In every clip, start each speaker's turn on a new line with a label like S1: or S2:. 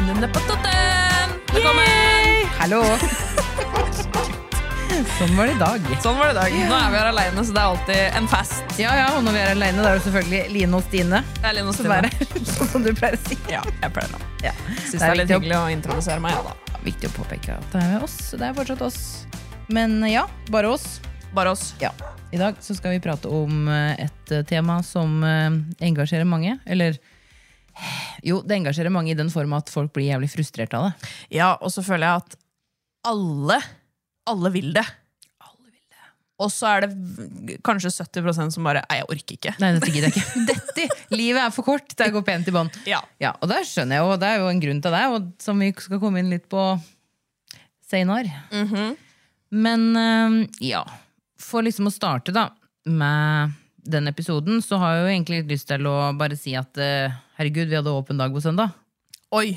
S1: Hundene på totten! Velkommen!
S2: Hallo! sånn var det i dag.
S1: Sånn var det i dag. Nå er vi her alene, så det er alltid en fest.
S2: Ja, ja, og når vi er alene, da er det selvfølgelig Line og Stine.
S1: Det er Linn og
S2: Som
S1: Stine.
S2: er her, Som du pleier å si.
S1: Ja, jeg pleier det.
S2: Ja.
S1: Syns det
S2: Det er
S1: er litt
S2: viktig å-
S1: hyggelig å introdusere meg, ja da.
S2: Viktig å påpeke at det er oss. Det er fortsatt oss. Men eh, ja, bare oss.
S1: Bare oss.
S2: Ja. I dag så skal vi prate om eh, et eh, tema som eh, engasjerer mange. Eller jo, det engasjerer mange i den form at folk blir jævlig frustrert av det.
S1: Ja, og så føler jeg at alle, alle vil det. Og så er det v- kanskje 70 som bare Nei, jeg orker ikke.
S2: Nei, dette gidder jeg ikke. Dette, Livet er for kort. Det går pent i bånn.
S1: Ja.
S2: Ja, og der skjønner jeg jo, det er jo en grunn til det, og som vi skal komme inn litt på senere. Men eh, ja, for liksom å starte da, med den episoden, så har jeg jo egentlig litt lyst til å bare si at eh, herregud, vi hadde åpen dag på søndag.
S1: Oi.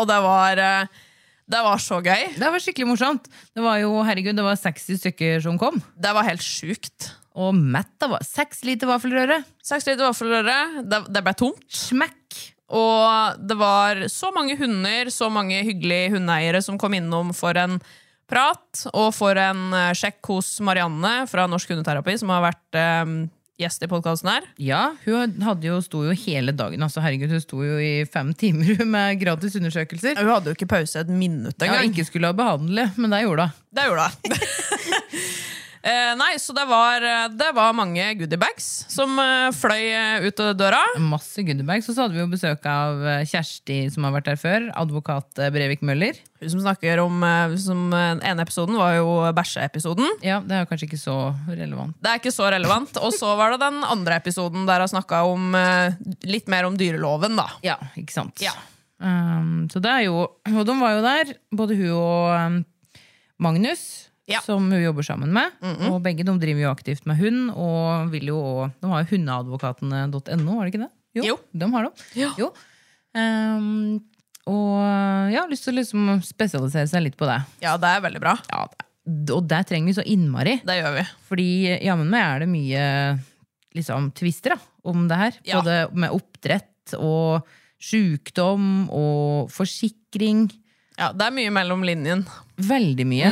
S1: Og det var eh, Det var så gøy.
S2: Det var skikkelig morsomt. Det var jo, herregud, det var 60 stykker som kom,
S1: Det var helt sjukt.
S2: og mett det var. Seks liter vaffelrøre.
S1: Seks liter vaffelrøre. Det, det ble tomt.
S2: Smekk.
S1: Og det var så mange hunder, så mange hyggelige hundeeiere som kom innom for en prat, og for en eh, sjekk hos Marianne fra Norsk Hundeterapi, som har vært eh, gjest i podkasten her.
S2: Ja, hun hadde jo, sto jo hele dagen, altså herregud, hun sto jo i fem timer hun, med gratis undersøkelser.
S1: Hun hadde jo ikke pause et minutt
S2: Ja, ikke skulle ha behandlet, men det gjorde hun.
S1: Det gjorde hun. Eh, nei, så det var, eh, det var mange goodiebags som eh, fløy eh, ut av døra.
S2: masse Gunderberg. Så, så hadde vi jo besøk av eh, Kjersti, som har vært her før. Advokat eh, Brevik Møller.
S1: Hun som snakker om eh, som eh, Den ene episoden var jo bæsjeepisoden.
S2: Ja, Det er jo kanskje ikke så relevant.
S1: Det er ikke så relevant. Og så var det den andre episoden der jeg snakka om eh, litt mer om dyreloven, da.
S2: Ja, ikke sant?
S1: Ja.
S2: Um, så det er jo Og de var jo der, både hun og um, Magnus,
S1: Ja.
S2: som hun jobber sammen med. Og begge de driver jo aktivt med hund, og vil jo òg De har jo hundeadvokatene.no, har de ikke det?
S1: Jo.
S2: De har de.
S1: Ja.
S2: Jo. Um, og ja, lyst til å liksom spesialisere seg litt på det.
S1: Ja, det er veldig bra.
S2: Ja, det- Og det trenger vi så innmari.
S1: Det gjør vi.
S2: Fordi jammen meg er det mye liksom, tvister da, om det her.
S1: Ja.
S2: Både med oppdrett og sjukdom og forsikring.
S1: Ja, Det er mye mellom linjen.
S2: Veldig mye.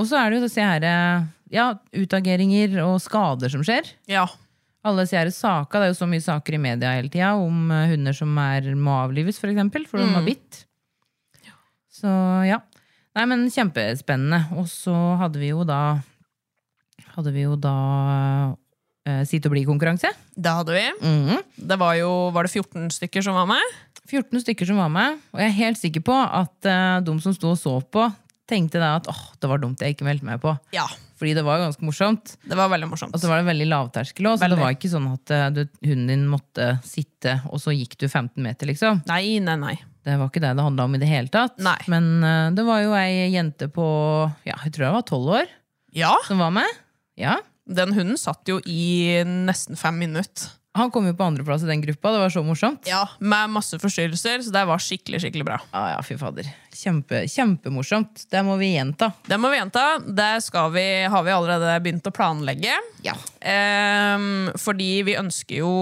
S2: Og så er det jo disse her eh, ja, utageringer og skader som skjer.
S1: Ja.
S2: Alle disse her saker, Det er jo så mye saker i media hele tida om eh, hunder som er, må avlives, for eksempel, for de har bitt. Så ja. Nei, men kjempespennende. Og så hadde vi jo da Hadde vi jo da eh, Sitt og bli-konkurranse.
S1: Det hadde vi. Mm. Det var jo Var det 14 stykker som var med?
S2: 14 stykker som var med, og jeg er helt sikker på at eh, de som sto og så på, tenkte da at åh, det var dumt jeg ikke meldte meg på.
S1: Ja.
S2: Fordi det var jo ganske morsomt.
S1: Det var veldig morsomt.
S2: Og så var det veldig lavterskel òg, så
S1: Veldig.
S2: det var ikke sånn at eh, du, hunden din måtte sitte, og så gikk du 15 meter, liksom.
S1: Nei, nei, nei.
S2: Det var ikke det det handla om i det hele tatt.
S1: Nei.
S2: Men eh, det var jo ei jente på ja, jeg tror jeg var 12 år
S1: Ja,
S2: som var med. Ja.
S1: den hunden satt jo i nesten fem minutter.
S2: Han kom jo på andreplass i den gruppa. Det var så morsomt.
S1: Ja, Med masse forstyrrelser, så det var skikkelig skikkelig bra.
S2: Ah, ja, fy fader. Kjempe, kjempemorsomt. Det må vi gjenta.
S1: Det må vi gjenta. Det skal vi, har vi allerede begynt å planlegge.
S2: Ja.
S1: Ehm, fordi vi ønsker jo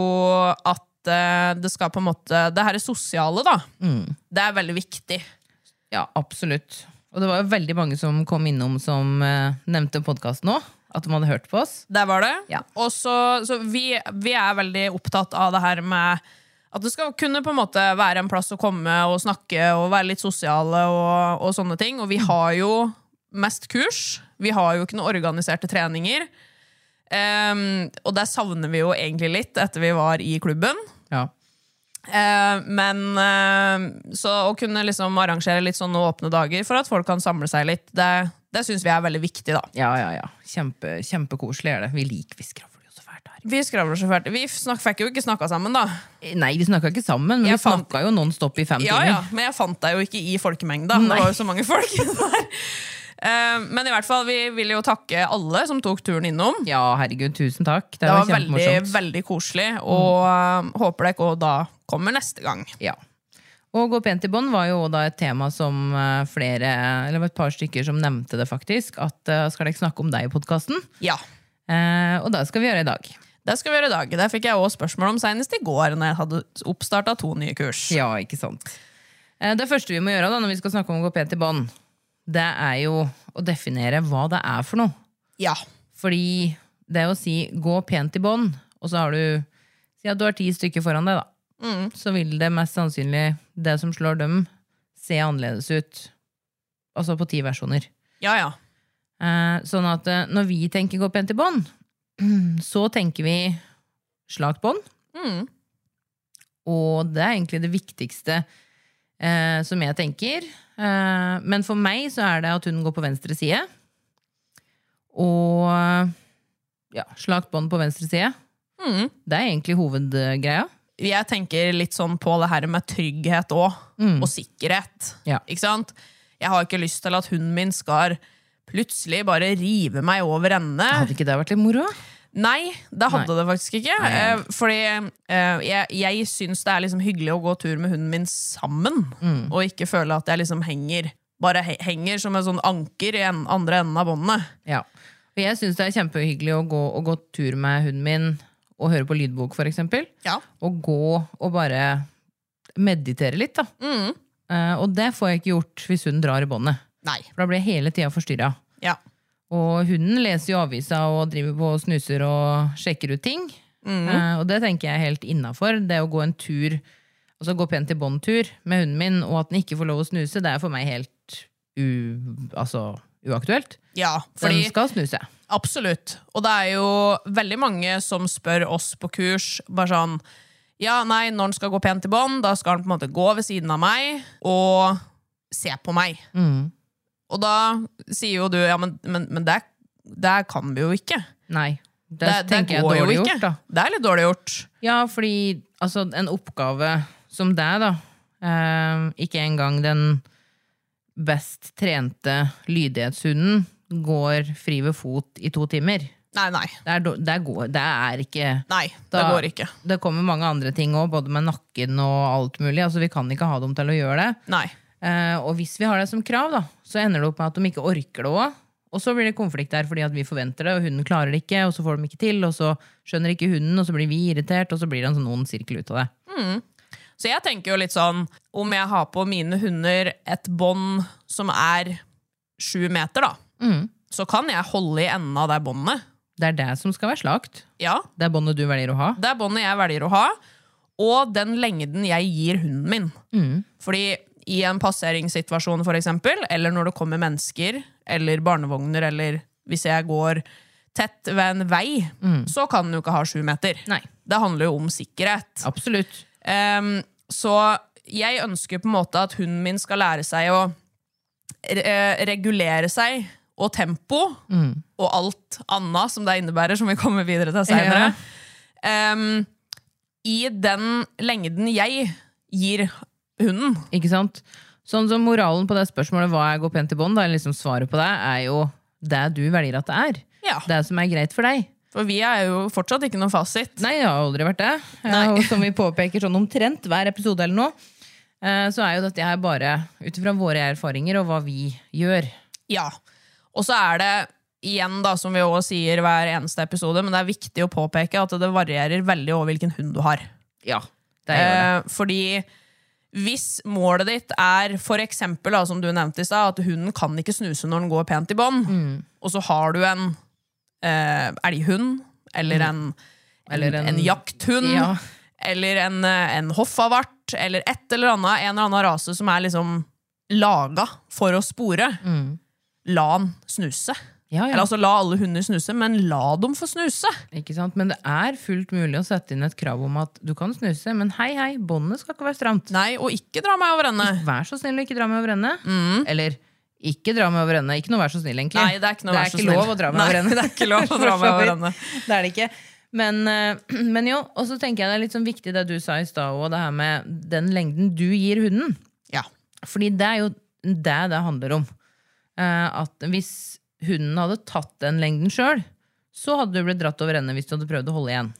S1: at eh, det skal på en måte Det her er sosiale, da. Det er veldig viktig.
S2: Ja, absolutt. Og det var jo veldig mange som kom innom som eh, nevnte podkasten òg. At de hadde hørt på oss.
S1: Der var det.
S2: Ja.
S1: Og så, så vi, vi er veldig opptatt av det her med at det skal kunne på en måte være en plass å komme og snakke og være litt sosiale og, og sånne ting. Og vi har jo mest kurs. Vi har jo ikke noen organiserte treninger. Ehm, og der savner vi jo egentlig litt etter vi var i klubben.
S2: Ja.
S1: Eh, men eh, så å kunne liksom arrangere litt sånne åpne dager for at folk kan samle seg litt, det, det syns vi er veldig viktig, da.
S2: Ja, ja, ja. Kjempe, kjempekoselig er det. Vi liker vi skravler jo så fælt her.
S1: Vi skravler så fælt. Vi snak, fikk jo ikke snakka sammen, da.
S2: Nei, vi snakka ikke sammen, men
S1: Jeg
S2: vi
S1: fant-
S2: snakka jo non stop i fem
S1: Ja, ja,
S2: timer.
S1: men jeg fant deg jo ikke i folkemengda.
S2: Nei.
S1: Det var jo så mange folk der. Eh, Men i hvert fall, vi vil jo takke alle som tok turen innom.
S2: Ja, herregud, tusen takk. Det,
S1: Det
S2: var
S1: var veldig,
S2: kjempemorsomt. Mm.
S1: veldig koselig, og eh, håper dere også da kommer neste gang.
S2: Ja. Og gå pent i bånd var jo også da et tema som eh, flere, eller det var et par stykker som nevnte det faktisk, at eh, skal dere ikke snakke om deg i podkasten?
S1: Ja,
S2: Eh, og det skal vi gjøre i dag.
S1: det skal vi gjøre i dag. Det fikk jeg også spørsmål om senest i går, når jeg hadde oppstarta to nye kurs.
S2: Ja, ikke sant. Eh, det første vi må gjøre da, når vi skal snakke om å gå pent i bånd, det er jo å definere hva det er for noe.
S1: Ja.
S2: Fordi det å si 'gå pent i bånd', og så har du Si at du har ti stykker foran deg, da. Så vil det mest sannsynlig, det som slår dem, se annerledes ut. Altså på ti versjoner.
S1: ja, ja.
S2: Eh, sånn at eh, når vi tenker 'gå pent i bånd', så tenker vi slakt bånd.
S1: Mm.
S2: Og det er egentlig det viktigste eh, som jeg tenker. Eh, men for meg så er det at hun går på venstre side. Og eh, ja, slakt bånd på venstre side.
S1: Mm.
S2: Det er egentlig hovedgreia.
S1: jeg tenker litt sånn på det her med trygghet òg,
S2: Mm.
S1: og sikkerhet.
S2: Ja.
S1: Ikke sant? Jeg har ikke lyst til at hunden min skal plutselig bare rive meg over ende.
S2: Hadde ikke det vært litt moro?
S1: Nei, det hadde det faktisk ikke.
S2: Nei.
S1: Eh, fordi eh, jeg, jeg syns det er liksom hyggelig å gå tur med hunden min sammen, og ikke føle at jeg liksom henger. Bare he henger som en sånn anker i en, andre enden av båndet.
S2: Ja. Og jeg syns det er kjempehyggelig å gå, å gå tur med hunden min og høre på lydbok, for eksempel. Og gå og bare meditere litt, da.
S1: Mm.
S2: Eh, og det får jeg ikke gjort hvis hunden drar i båndet.
S1: Nei.
S2: For da blir jeg hele tida forstyrra.
S1: Ja.
S2: Og hunden leser jo avisa og driver på og snuser og sjekker ut ting.
S1: Mm.
S2: Eh, og det tenker jeg er helt innafor. Det å gå en tur, altså gå pent i bånd-tur med hunden min, og at den ikke får lov å snuse, det er for meg helt u, altså, uaktuelt.
S1: Ja,
S2: Fordi,
S1: fordi
S2: den skal snuse.
S1: Absolutt. Og det er jo veldig mange som spør oss på kurs bare sånn Ja, nei, når han skal gå pent i bånd, da skal han på en måte gå ved siden av meg og se på meg.
S2: Mm.
S1: Og da sier jo du ja, men, men, men det, det kan vi jo ikke.
S2: Nei. Det,
S1: Det, det
S2: tenker jeg
S1: går
S2: er
S1: jo
S2: dårlig
S1: ikke.
S2: gjort, da.
S1: Det er litt dårlig gjort.
S2: Ja, fordi altså, en oppgave som deg, da eh, Ikke engang den best trente lydighetshunden går fri ved fot i to timer.
S1: Nei, nei.
S2: Det er, dår- det er, går, det er ikke
S1: Nei, det
S2: Da-
S1: går ikke.
S2: Det kommer mange andre ting òg, både med nakken og alt mulig. Altså, vi kan ikke ha dem til å gjøre det.
S1: Nei.
S2: Eh, og hvis vi har det som krav, da, så ender det opp med at de ikke orker det òg. Og så blir det konflikt der fordi at vi forventer det, og hunden klarer det ikke. Og så får de ikke til, og så skjønner ikke hunden, og så blir vi irritert, og så blir det en sånn ond sirkel ut av det.
S1: Så jeg tenker jo litt sånn Om jeg har på mine hunder et bånd som er sju meter, da, så kan jeg holde i enden av det båndet.
S2: Det er det som skal være slakt.
S1: Ja,
S2: Det er båndet du velger å ha.
S1: Det er båndet jeg velger å ha, og den lengden jeg gir hunden min. Fordi i en passeringssituasjon, for eksempel, eller når det kommer mennesker, eller barnevogner, eller hvis jeg går tett ved en vei, så kan den jo ikke ha sju meter.
S2: Nei.
S1: Det handler jo om sikkerhet.
S2: Absolutt.
S1: Ehm, så jeg ønsker på en måte at hunden min skal lære seg å re- eh, regulere seg og tempo og alt annet som det innebærer, som vi kommer videre til seinere. I den lengden jeg gir hunden.
S2: Ikke sant? Sånn som moralen på det spørsmålet hva er gå pent i bånd, da, eller liksom svaret på det, er jo det du velger at det er.
S1: Ja,
S2: Det som er greit for deg.
S1: For vi er jo fortsatt ikke noen fasit.
S2: Nei, jeg har aldri vært det.
S1: Nei.
S2: Og som vi påpeker sånn omtrent hver episode eller noe, eh, så er jo dette her bare ut ifra våre erfaringer og hva vi gjør.
S1: Ja. Og så er det igjen, da, som vi også sier hver eneste episode, men det er viktig å påpeke at det varierer veldig over hvilken hund du har.
S2: Ja, det gjør det.
S1: Eh, fordi hvis målet ditt er for eksempel, da, som du nevnte i stad, at hunden kan ikke snuse når den går pent i bånd,
S2: Mm.
S1: og så har du en eh, elghund eller en,
S2: Eller
S1: en,
S2: en-
S1: en jakthund
S2: Ja.
S1: eller en, eh, en hoffavart eller et eller annet, en eller annen rase som er liksom laga for å spore, la den snuse.
S2: Mm. Ja, ja.
S1: Eller altså la alle hunder snuse, men la dem få snuse!
S2: Ikke sant? Men det er fullt mulig å sette inn et krav om at du kan snuse, men hei, hei, båndet skal ikke være stramt.
S1: Nei, og ikke dra meg over ende.
S2: Vær så snill å ikke dra meg over ende. Eller ikke dra meg over ende. Ikke noe vær så snill, egentlig.
S1: Mm. Nei, det er ikke noe vær så snill.
S2: lov å dra meg
S1: Nei,
S2: over ende.
S1: det er ikke lov å dra meg
S2: For så
S1: over
S2: vidt.
S1: ende.
S2: Det er det ikke. Men, eh, men jo, og så tenker jeg det er litt sånn viktig det du sa i stad òg, det her med den lengden du gir hunden.
S1: Ja.
S2: Fordi det er jo det det handler om. Eh, at hvis hunden hadde tatt den lengden sjøl, så hadde du blitt dratt over ende hvis du hadde prøvd å holde igjen.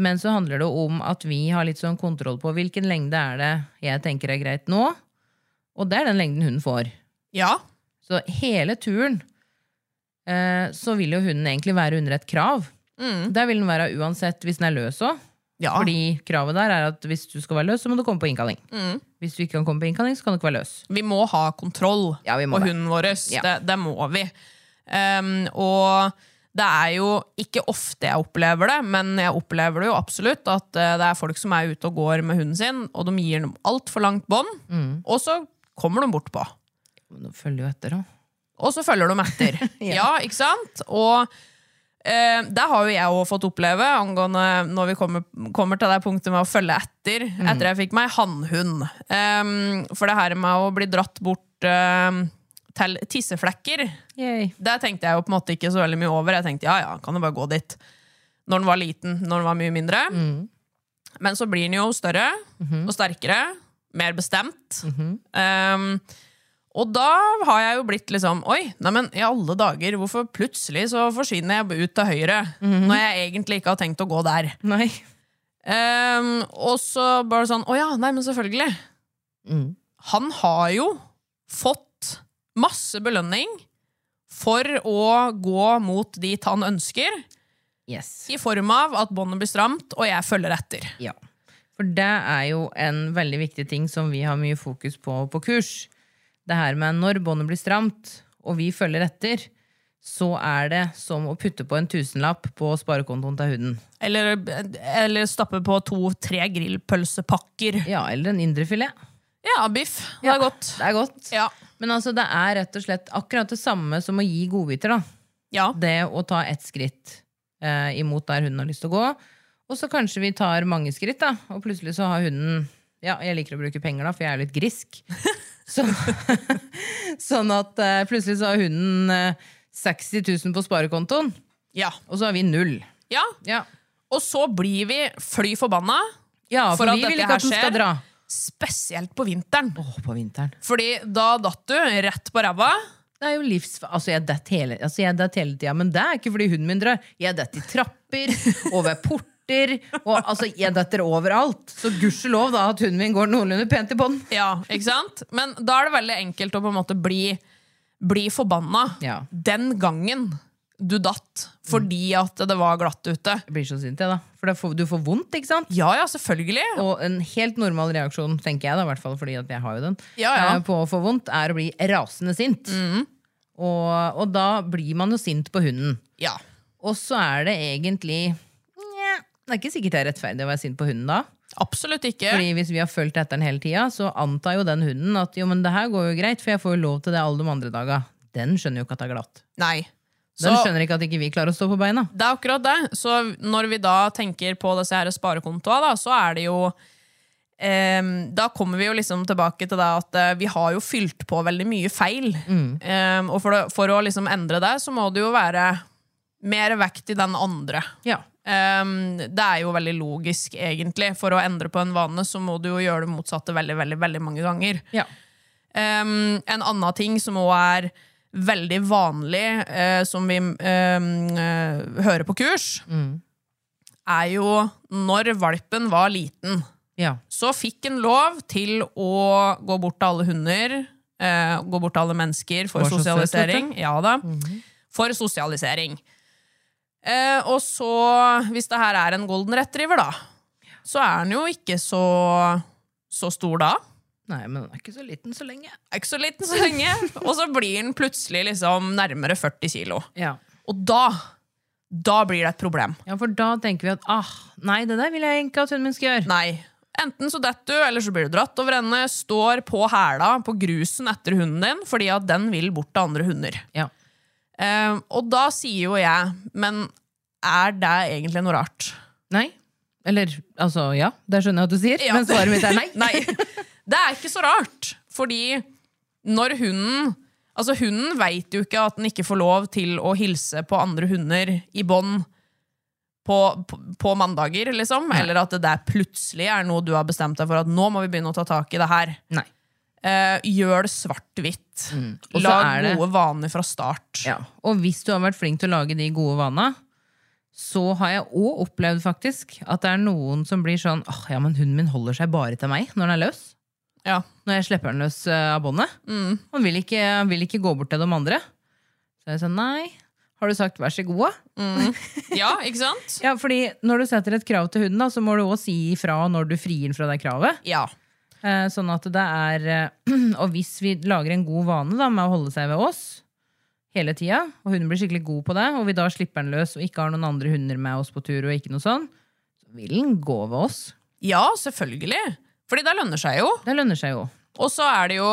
S2: Men så handler det om at vi har litt sånn kontroll på hvilken lengde er det jeg tenker er greit nå, og det er den lengden hunden får.
S1: Ja.
S2: Så hele turen eh, så vil jo hunden egentlig være under et krav.
S1: Mm.
S2: Der vil den være uansett hvis den er løs òg.
S1: ja.
S2: Fordi kravet der er at hvis du skal være løs, så må du komme på innkalling. Hvis du ikke kan komme på innkalling, så kan du ikke være løs.
S1: Vi må ha kontroll
S2: Ja, vi må
S1: på
S2: det.
S1: hunden vår.
S2: Ja.
S1: Det, det må vi. Ehm, og det er jo ikke ofte jeg opplever det, men jeg opplever det jo absolutt at eh, det er folk som er ute og går med hunden sin, og de gir dem altfor langt bånd,
S2: Mm.
S1: og så kommer de bortpå.
S2: Men Nå følger jo etter, da.
S1: Og så følger de etter. ja. ikke sant? Og eh, det har jo jeg òg fått oppleve angående når vi kommer, kommer til det punktet med å følge etter etter jeg fikk meg hannhund. Em, for det her med å bli dratt bort eh, til tisseflekker, det tenkte jeg jo på en måte ikke så veldig mye over. Jeg tenkte ja, ja, kan jo bare gå dit. Når den var liten, når den var mye mindre. Men så blir den jo større og sterkere, mer bestemt. Em, og da har jeg jo blitt liksom Oi, neimen, i alle dager, hvorfor plutselig så forsvinner jeg ut til høyre? Når jeg egentlig ikke har tenkt å gå der.
S2: Nei.
S1: Em, Ehm, og så bare sånn Å ja, nei, men selvfølgelig.
S2: Mm.
S1: Han har jo fått masse belønning for å gå mot dit han ønsker,
S2: Yes.
S1: i form av at båndet blir stramt, og jeg følger etter.
S2: Ja. For det er jo en veldig viktig ting som vi har mye fokus på på kurs. Det her med når båndet blir stramt, og vi følger etter, så er det som å putte på en tusenlapp på sparekontoen til hunden.
S1: Eller, eller stappe på to-tre grillpølsepakker.
S2: Ja, eller en indrefilet.
S1: Ja, biff. Det er godt.
S2: Det er godt.
S1: Ja.
S2: Men altså, det er rett og slett akkurat det samme som å gi godbiter, da.
S1: ja.
S2: det å ta ett skritt eh, imot der hunden har lyst til å gå. Og så kanskje vi tar mange skritt, da, og plutselig så har hunden Ja, jeg liker å bruke penger, da, for jeg er litt grisk. Så, sånn at eh, plutselig så har hunden eh, 60 000 på sparekontoen,
S1: ja.
S2: og så har vi null.
S1: Ja,
S2: Ja,
S1: og så blir vi fly forbanna,
S2: ja
S1: For
S2: for,
S1: at
S2: vi vil ikke
S1: dette
S2: at
S1: her
S2: den skal
S1: skjer-
S2: dra.
S1: spesielt på vinteren.
S2: Åh, på vinteren.
S1: Fordi da datt du rett på ræva.
S2: Det er jo livs... Altså, jeg detter hele, altså, jeg detter hele tida, men det er ikke fordi hunden min drar. Jeg detter i trapper, over porter, og altså, jeg detter overalt. Så gudskjelov da at hunden min går noenlunde pent i bånd.
S1: Ja, ikke sant? Men da er det veldig enkelt å på en måte bli, bli forbanna
S2: Ja.
S1: den gangen du datt fordi at det var glatt ute.
S2: Jeg blir så sint, jeg, da. For da får, du får vondt, ikke sant?
S1: Ja ja, selvfølgelig.
S2: Og en helt normal reaksjon, tenker jeg, da, i hvert fall fordi at jeg har jo den,
S1: Ja, ja. Mhm.
S2: eh, på å få vondt, er å bli rasende sint. Og, og da blir man jo sint på hunden.
S1: Ja.
S2: Og så er det egentlig Nja, Det er ikke sikkert det er rettferdig å være sint på hunden da.
S1: Absolutt ikke.
S2: Fordi hvis vi har fulgt etter den hele tida, så antar jo den hunden at jo, men det her går jo greit, for jeg får jo lov til det alle de andre daga. Den skjønner jo ikke at det er glatt.
S1: Nei.
S2: Den
S1: Så-
S2: skjønner ikke at ikke vi klarer å stå på beina.
S1: Det er akkurat det. Så når vi da tenker på disse her sparekontoa, da, så er det jo em, Da kommer vi jo liksom tilbake til det at eh, vi har jo fylt på veldig mye feil.
S2: Mm.
S1: Em, og for, å- for å liksom endre det, så må det jo være mer vekt i den andre.
S2: Ja.
S1: Em, Ehm, det er jo veldig logisk, egentlig. For å endre på en vane så må du jo gjøre det motsatte veldig, veldig, veldig mange ganger.
S2: Ja.
S1: Um, en annen ting som òg er veldig vanlig, eh, som vi um, eh, hører på kurs, er jo når valpen var liten,
S2: Ja.
S1: så fikk en lov til å gå bort til alle hunder, eh, gå bort til alle mennesker for
S2: Det var så søtt, vet du. Mhm.
S1: sosialisering. Ja da. For sosialisering. Eh, og så, hvis det her er en golden retriever, da, så er den jo ikke så, så stor da
S2: Nei, men den er ikke så liten så lenge.
S1: er ikke så liten så lenge. Og så blir den plutselig liksom nærmere 40 kilo.
S2: Ja.
S1: Og da, da blir det et problem.
S2: for da tenker vi at ah, nei, det der vil jeg ikke at hunden min skal gjøre.
S1: Nei. Enten så detter du, eller så blir du dratt over ende, står på hæla på grusen etter hunden din fordi at den vil bort til andre hunder.
S2: Ja.
S1: Eh, og da sier jo jeg, men er det egentlig noe rart?
S2: Nei. Eller altså, ja, det skjønner jeg at du sier,
S1: Ja.
S2: men svaret mitt er nei.
S1: Det er ikke så rart, fordi når hunden Altså, hunden veit jo ikke at den ikke får lov til å hilse på andre hunder i bånd på, på, på mandager, liksom. Eller at det der plutselig er noe du har bestemt deg for at nå må vi begynne å ta tak i det her.
S2: Nei. Mm.
S1: Eh, gjør det svart-hvitt.
S2: Og så er
S1: Lag
S2: det-
S1: gode vaner fra start.
S2: Ja. Og hvis du har vært flink til å lage de gode vana, så har jeg òg opplevd faktisk at det er noen som blir sånn Åh, ja, men hunden min holder seg bare til meg når den er løs.
S1: Ja.
S2: Når jeg slipper den løs eh, av båndet. Han, vil ikke, han vil ikke gå bort til de andre. Så jeg sa nei. Har du sagt vær så god? da?»
S1: ja, ikke sant?
S2: Ja, fordi når du setter et krav til hunden, da, så må du òg si ifra når du frier den fra det kravet.
S1: Ja.
S2: Eh, Sånn at det er eh, Og hvis vi lager en god vane da, med å holde seg ved oss hele tida, og hunden blir skikkelig god på det, og vi da slipper den løs og ikke har noen andre hunder med oss på tur, og ikke noe sånn, så vil den gå ved oss.
S1: ja, selvfølgelig. Fordi det lønner seg jo.
S2: Det lønner seg jo.
S1: Og så er det jo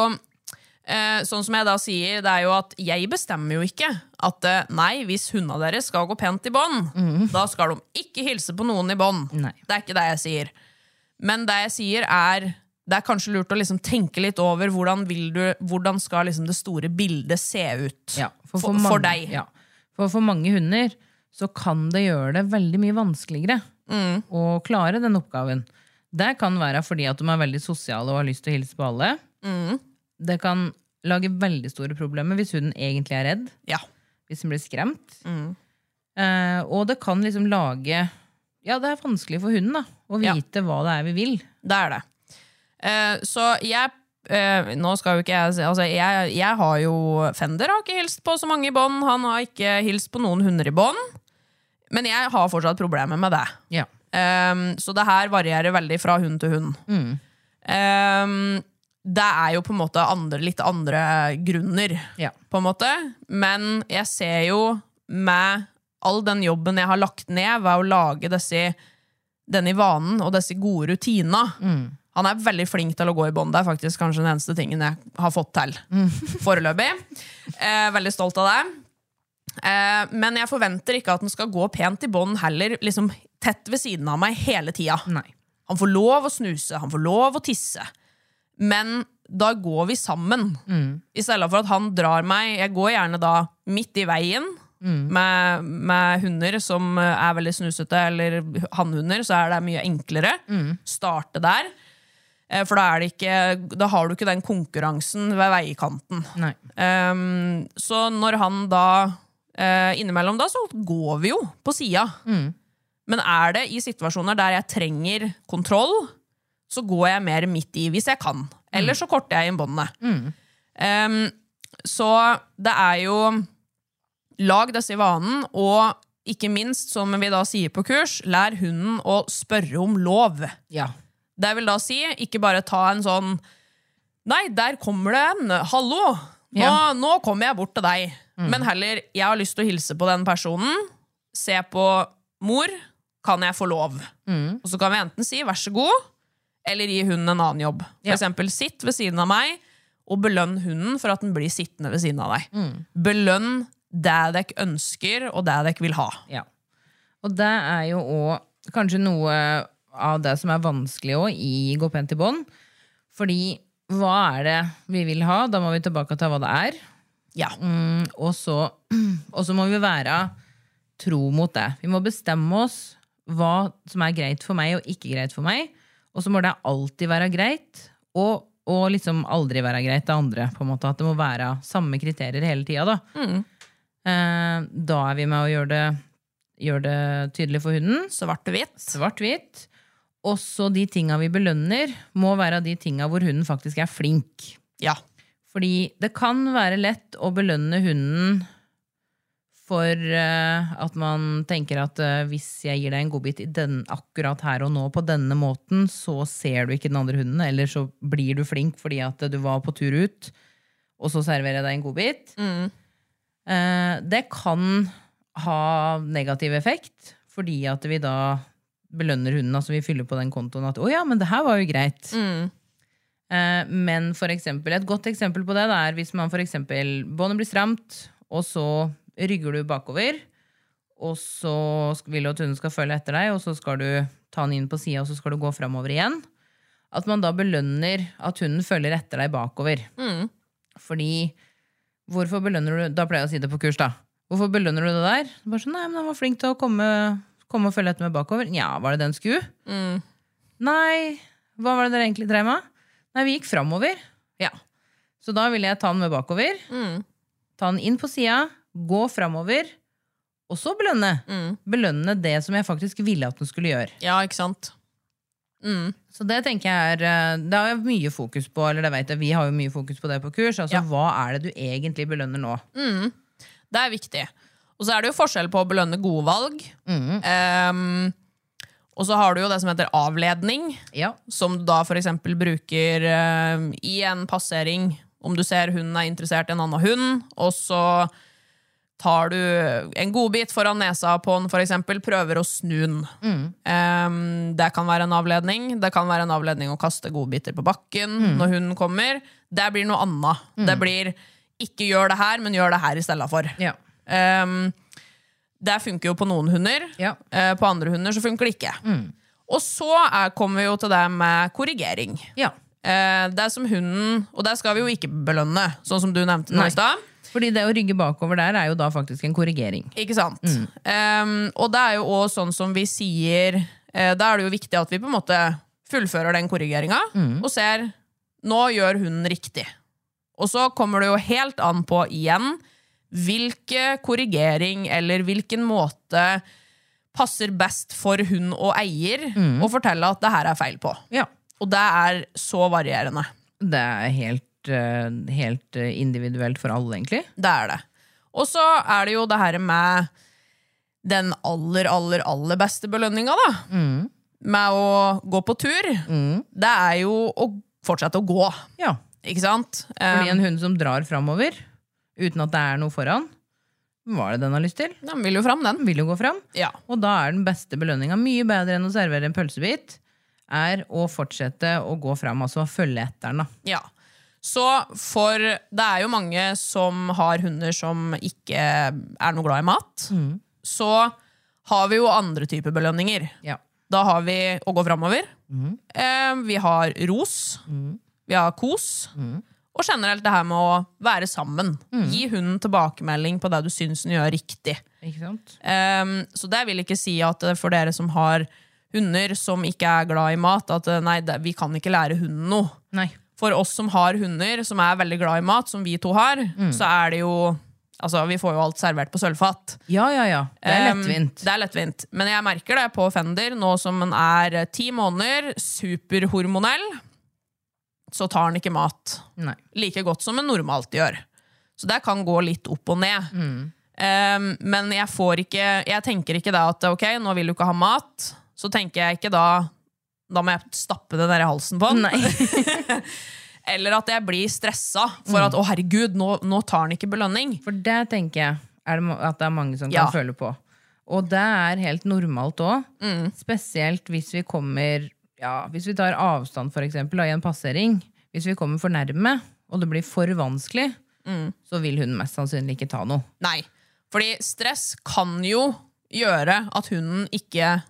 S1: eh, Sånn som jeg da sier, det er jo at jeg bestemmer jo ikke at eh, nei, hvis hundene deres skal gå pent i bånd, da skal de ikke hilse på noen i bånd.
S2: Mhm. Nei.
S1: Det er ikke det jeg sier. Men det jeg sier, er det er kanskje lurt å liksom tenke litt over hvordan, vil du, hvordan skal liksom det store bildet se ut
S2: Ja,
S1: for, for,
S2: mange-
S1: deg.
S2: Ja, for for mange hunder så kan det gjøre det veldig mye vanskeligere
S1: Mm.
S2: å klare den oppgaven. Det kan være fordi at de er veldig sosiale og har lyst til å hilse på alle.
S1: Mm.
S2: Det kan lage veldig store problemer hvis hunden egentlig er redd.
S1: Ja.
S2: hvis den blir skremt. Eh, og det kan liksom lage Ja, det er vanskelig for hunden da, å
S1: Ja.
S2: vite hva det er vi vil.
S1: Det er det. Eh, så jeg eh, Nå skal jo ikke jeg si altså jeg, jeg har jo Fender har ikke hilst på så mange i bånd. Han har ikke hilst på noen hunder i bånd. Men jeg har fortsatt problemer med det.
S2: Ja.
S1: Ehm, så det her varierer veldig fra hund til hund. Ehm, det er jo på en måte andre, litt andre grunner,
S2: Ja.
S1: på en måte. Men jeg ser jo med all den jobben jeg har lagt ned ved å lage disse, denne vanen og disse gode rutina Han er veldig flink til å gå i bånd. Det er faktisk kanskje den eneste tingen jeg har fått til foreløpig. Eh, veldig stolt av det. Eh, men jeg forventer ikke at den skal gå pent i bånd heller, liksom tett ved siden av meg hele tida.
S2: Nei.
S1: Han får lov å snuse, han får lov å tisse. Men da går vi sammen. I stedet for at han drar meg Jeg går gjerne da midt i veien med, med hunder som er veldig snusete, eller hannhunder, så er det mye enklere. Starte der. Eh, For da, er det ikke, da har du ikke den konkurransen ved veikanten.
S2: Nei.
S1: Ehm, så når han da eh, Innimellom da så går vi jo på sida. Men er det i situasjoner der jeg trenger kontroll, så går jeg mer midt i hvis jeg kan. Eller så korter jeg inn båndene. Ehm, så det er jo Lag disse vanen, og ikke minst, som vi da sier på kurs, lær hunden å spørre om lov.
S2: Ja.
S1: Det vil da si, ikke bare ta en sånn Nei, der kommer det en! Hallo! Nå,
S2: Ja.
S1: nå kommer jeg bort til deg. Men heller, jeg har lyst til å hilse på den personen. Se på mor. Kan jeg få lov? Og så kan vi enten si vær så god, eller gi hunden en annen jobb. For
S2: Ja.
S1: eksempel sitt ved siden av meg, og belønn hunden for at den blir sittende ved siden av deg. Belønn det dere ønsker, og det dere vil ha.
S2: ja. Og det er jo òg kanskje noe av det som er vanskelig òg i Gå pent i bånd. Fordi hva er det vi vil ha? Da må vi tilbake til hva det er.
S1: Ja.
S2: Mm, og, så, og så må vi være tro mot det. Vi må bestemme oss hva som er greit for meg og ikke greit for meg. Og så må det alltid være greit, og, og liksom aldri være greit det andre. på en måte. At det må være samme kriterier hele tida. Da. Eh, da er vi med å gjøre det, gjøre det tydelig for hunden.
S1: Svart og hvitt.
S2: Svart-hvitt. Også de tinga vi belønner, må være de tinga hvor hunden faktisk er flink.
S1: Ja.
S2: Fordi det kan være lett å belønne hunden for eh, at man tenker at eh, hvis jeg gir deg en godbit i den, akkurat her og nå på denne måten, så ser du ikke den andre hunden, eller så blir du flink fordi at du var på tur ut, og så serverer jeg deg en godbit. Eh, det kan ha negativ effekt, fordi at vi da belønner hunden, altså vi fyller på den kontoen at å ja, men det her var jo greit.
S1: Mm.
S2: Eh, Men for eksempel, et godt eksempel på det da er hvis man for eksempel båndet blir stramt, og så rygger du bakover, og så sk- vil du at hunden skal følge etter deg, og så skal du ta den inn på sida, og så skal du gå framover igjen. At man da belønner at hunden følger etter deg bakover.
S1: Mm.
S2: Fordi hvorfor belønner du Da pleier jeg å si det på kurs, da. Hvorfor belønner du det der? Bare sånn, nei, men Han var flink til å komme, komme og følge etter meg bakover. Nja, var det den skulle?
S1: Mm.
S2: Nei, hva var det dere egentlig drev med? Nei, vi gikk framover. Ja. Så da ville jeg ta den med bakover.
S1: Mm.
S2: Ta den inn på sida, gå framover, og så belønne.
S1: Mm.
S2: Belønne det som jeg faktisk ville at den skulle gjøre.
S1: Ja, ikke sant?
S2: Så det tenker jeg er eh, Det har jeg mye fokus på, eller det vet jeg, vi har jo mye fokus på det på kurs. Altså,
S1: Ja.
S2: hva er det du egentlig belønner nå?
S1: Det er viktig. Og så er det jo forskjell på å belønne gode valg. Ehm, og så har du jo det som heter avledning,
S2: Ja.
S1: som du da f.eks. bruker ehm, i en passering. Om du ser hunden er interessert i en annen hund, og så tar du en godbit foran nesa på den, f.eks., prøver å snu den. Ehm, det kan være en avledning. Det kan være en avledning å kaste godbiter på bakken når hunden kommer. Det blir noe annet. Det blir ikke gjør det her, men gjør det her i stedet for.
S2: Ja.
S1: Ehm, det funker jo på noen hunder.
S2: Ja. Mm.
S1: Eh, på andre hunder så funker det ikke. Og så er, kommer vi jo til det med korrigering.
S2: ja.
S1: Eh, det er som hunden Og der skal vi jo ikke belønne, sånn som du nevnte nå
S2: Nei.
S1: i stad.
S2: Fordi det å rygge bakover der er jo da faktisk en korrigering.
S1: Ikke sant? Ehm, og det er jo òg sånn som vi sier eh, Da er det jo viktig at vi på en måte fullfører den korrigeringa og ser Nå gjør hunden riktig. Og så kommer det jo helt an på igjen hvilke korrigering eller hvilken måte passer best for hund og eier å fortelle at det her er feil på.
S2: Ja.
S1: Og det er så varierende.
S2: Det er helt, eh, helt eh, individuelt for alle, egentlig.
S1: Det er det. Og så er det jo det her med den aller, aller, aller beste belønninga, da.
S2: Mm.
S1: Med å gå på tur. Det er jo å fortsette å gå,
S2: Ja.
S1: ikke sant?
S2: Fordi
S1: Eh,
S2: en hund som drar framover uten at det er noe foran, hva er det den har lyst til?
S1: den Eh, vil jo fram, den.
S2: Den vil jo gå fram.
S1: Ja.
S2: Og da er den beste belønninga mye bedre enn å servere en pølsebit, er å fortsette å gå fram, altså å følge etter den. da.
S1: ja. Så for det er jo mange som har hunder som ikke er noe glad i mat.
S2: Mm.
S1: Så har vi jo andre typer belønninger.
S2: Ja.
S1: Da har vi å gå framover. Eh, vi har ros. Vi har kos. Og generelt det her med å være sammen. Gi hunden tilbakemelding på det du syns den gjør riktig.
S2: Ikke sant?
S1: Ehm, så det vil ikke si at eh, for dere som har hunder som ikke er glad i mat, at eh, nei, det, vi kan ikke lære hunden noe.
S2: Nei.
S1: For oss som har hunder som er veldig glad i mat, som vi to har, så er det jo Altså, vi får jo alt servert på sølvfat.
S2: Ja, ja, ja. Det er
S1: Um,
S2: lettvint.
S1: det er lettvint. Men jeg merker det på Fender, nå som den er eh, ti måneder, superhormonell, så tar den ikke mat
S2: Nei.
S1: like godt som en normalt gjør. Så det kan gå litt opp og ned.
S2: Mm.
S1: Um, men jeg, får ikke, jeg tenker ikke da at ok, nå vil du ikke ha mat. Så tenker jeg ikke da Da må jeg stappe det ned i halsen på den. Eller at jeg blir stressa for
S2: Mm.
S1: at å herregud, nå, nå tar den ikke belønning.
S2: For det tenker jeg er det, ma- at det er mange som kan
S1: Ja.
S2: føle på. Og det er helt normalt òg. Spesielt hvis vi kommer ja, Hvis vi tar avstand for eksempel, da, i en passering. Hvis vi kommer for nærme, og det blir for vanskelig, så vil hun mest sannsynlig ikke ta noe.
S1: Nei. Fordi stress kan jo gjøre at hunden ikke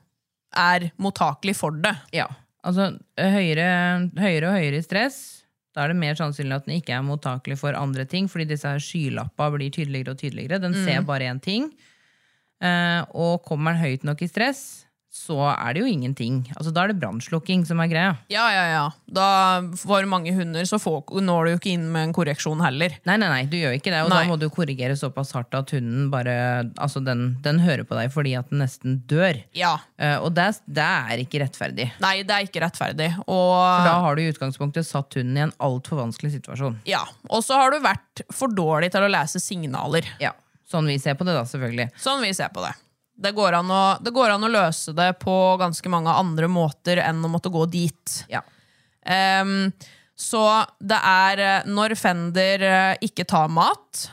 S1: er mottakelig for det.
S2: Ja, altså høyere, høyere og høyere stress, da er det mer sannsynlig at den ikke er mottakelig for andre ting, fordi disse her skylappa blir tydeligere og tydeligere. Den ser bare én ting. Eh, og kommer den høyt nok i stress, så er det jo ingenting. Altså, da er det brannslukking som er greia.
S1: Ja, ja, ja. Da for mange hunder så får, når du jo ikke inn med en korreksjon heller.
S2: Nei, nei, nei, du gjør ikke det, og
S1: Nei.
S2: da må du korrigere såpass hardt at hunden bare Altså, den, den hører på deg fordi at den nesten dør.
S1: Ja.
S2: Eh, og det, det er ikke rettferdig.
S1: Nei, det er ikke rettferdig.
S2: Da
S1: Og,
S2: har du i utgangspunktet satt hunden i en altfor vanskelig situasjon.
S1: ja. og så har du vært for dårlig til å lese signaler.
S2: Ja, Sånn vi ser på det, da, selvfølgelig.
S1: Sånn vi ser på det. Det går, an å, det går an å løse det på ganske mange andre måter enn å måtte gå dit.
S2: Ja.
S1: Ehm, så det er eh, når Fender eh, ikke tar mat,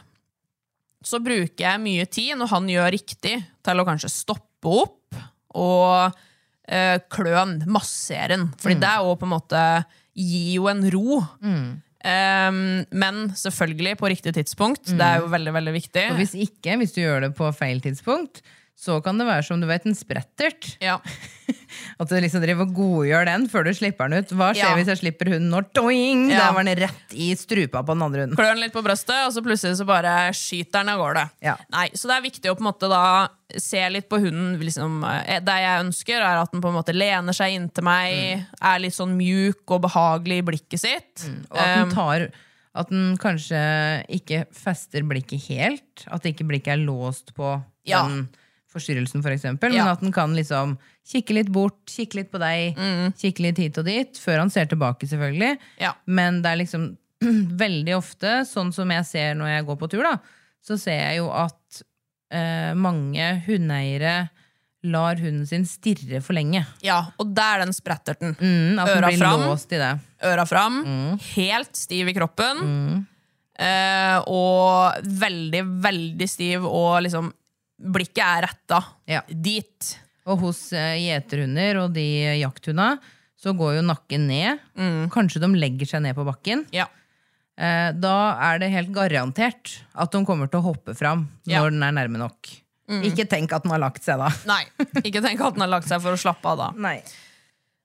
S1: så bruker jeg mye tid når han gjør riktig, til å kanskje stoppe opp og eh, klø han, massere han. Fordi det er jo på en måte gir jo en ro. Ehm, men selvfølgelig på riktig tidspunkt. Det er jo veldig, veldig viktig.
S2: Og hvis ikke, hvis du gjør det på feil tidspunkt, så kan det være som du vet, en sprettert.
S1: Ja.
S2: At du liksom driver og godgjør den før du slipper den ut. Hva skjer
S1: Ja.
S2: hvis jeg slipper hunden når doing?
S1: Ja.
S2: Der var den rett i strupa på den andre hunden.
S1: Klør den litt på brøstet, og så plutselig så bare skyter den av gårde.
S2: Ja.
S1: Nei, så det er viktig å på en måte da se litt på hunden. Liksom, eh, det jeg ønsker, er at den på en måte lener seg inntil meg,
S2: Mm.
S1: er litt sånn mjuk og behagelig i blikket sitt. Ehm,
S2: Og at den tar At den kanskje ikke fester blikket helt. At ikke blikket er låst på
S1: Ja.
S2: den forstyrrelsen, for eksempel.
S1: Ja.
S2: Men at den kan liksom kikke litt bort, kikke litt på deg, kikke litt hit og dit, før han ser tilbake, selvfølgelig.
S1: Mm. Ja.
S2: Men det er liksom veldig ofte, sånn som jeg ser når jeg går på tur, da, så ser jeg jo at eh, mange hundeeiere lar hunden sin stirre for lenge.
S1: Ja, og der er den spretterten.
S2: Mm, at den
S1: Øra
S2: blir
S1: fram.
S2: låst i det.
S1: Øra fram, helt stiv i kroppen,
S2: Mm.
S1: eh, og veldig, veldig stiv, og liksom blikket er retta
S2: Ja.
S1: dit.
S2: Og hos eh, gjeterhunder og de eh, jakthunda så går jo nakken ned.
S1: Mm.
S2: Kanskje de legger seg ned på bakken.
S1: Ja.
S2: Eh, da er det helt garantert at de kommer til å hoppe fram når
S1: Ja. Mm.
S2: den er nærme nok. Ikke tenk at den har lagt seg, da.
S1: Nei, ikke tenk at den har lagt seg for å slappe av da.
S2: Nei.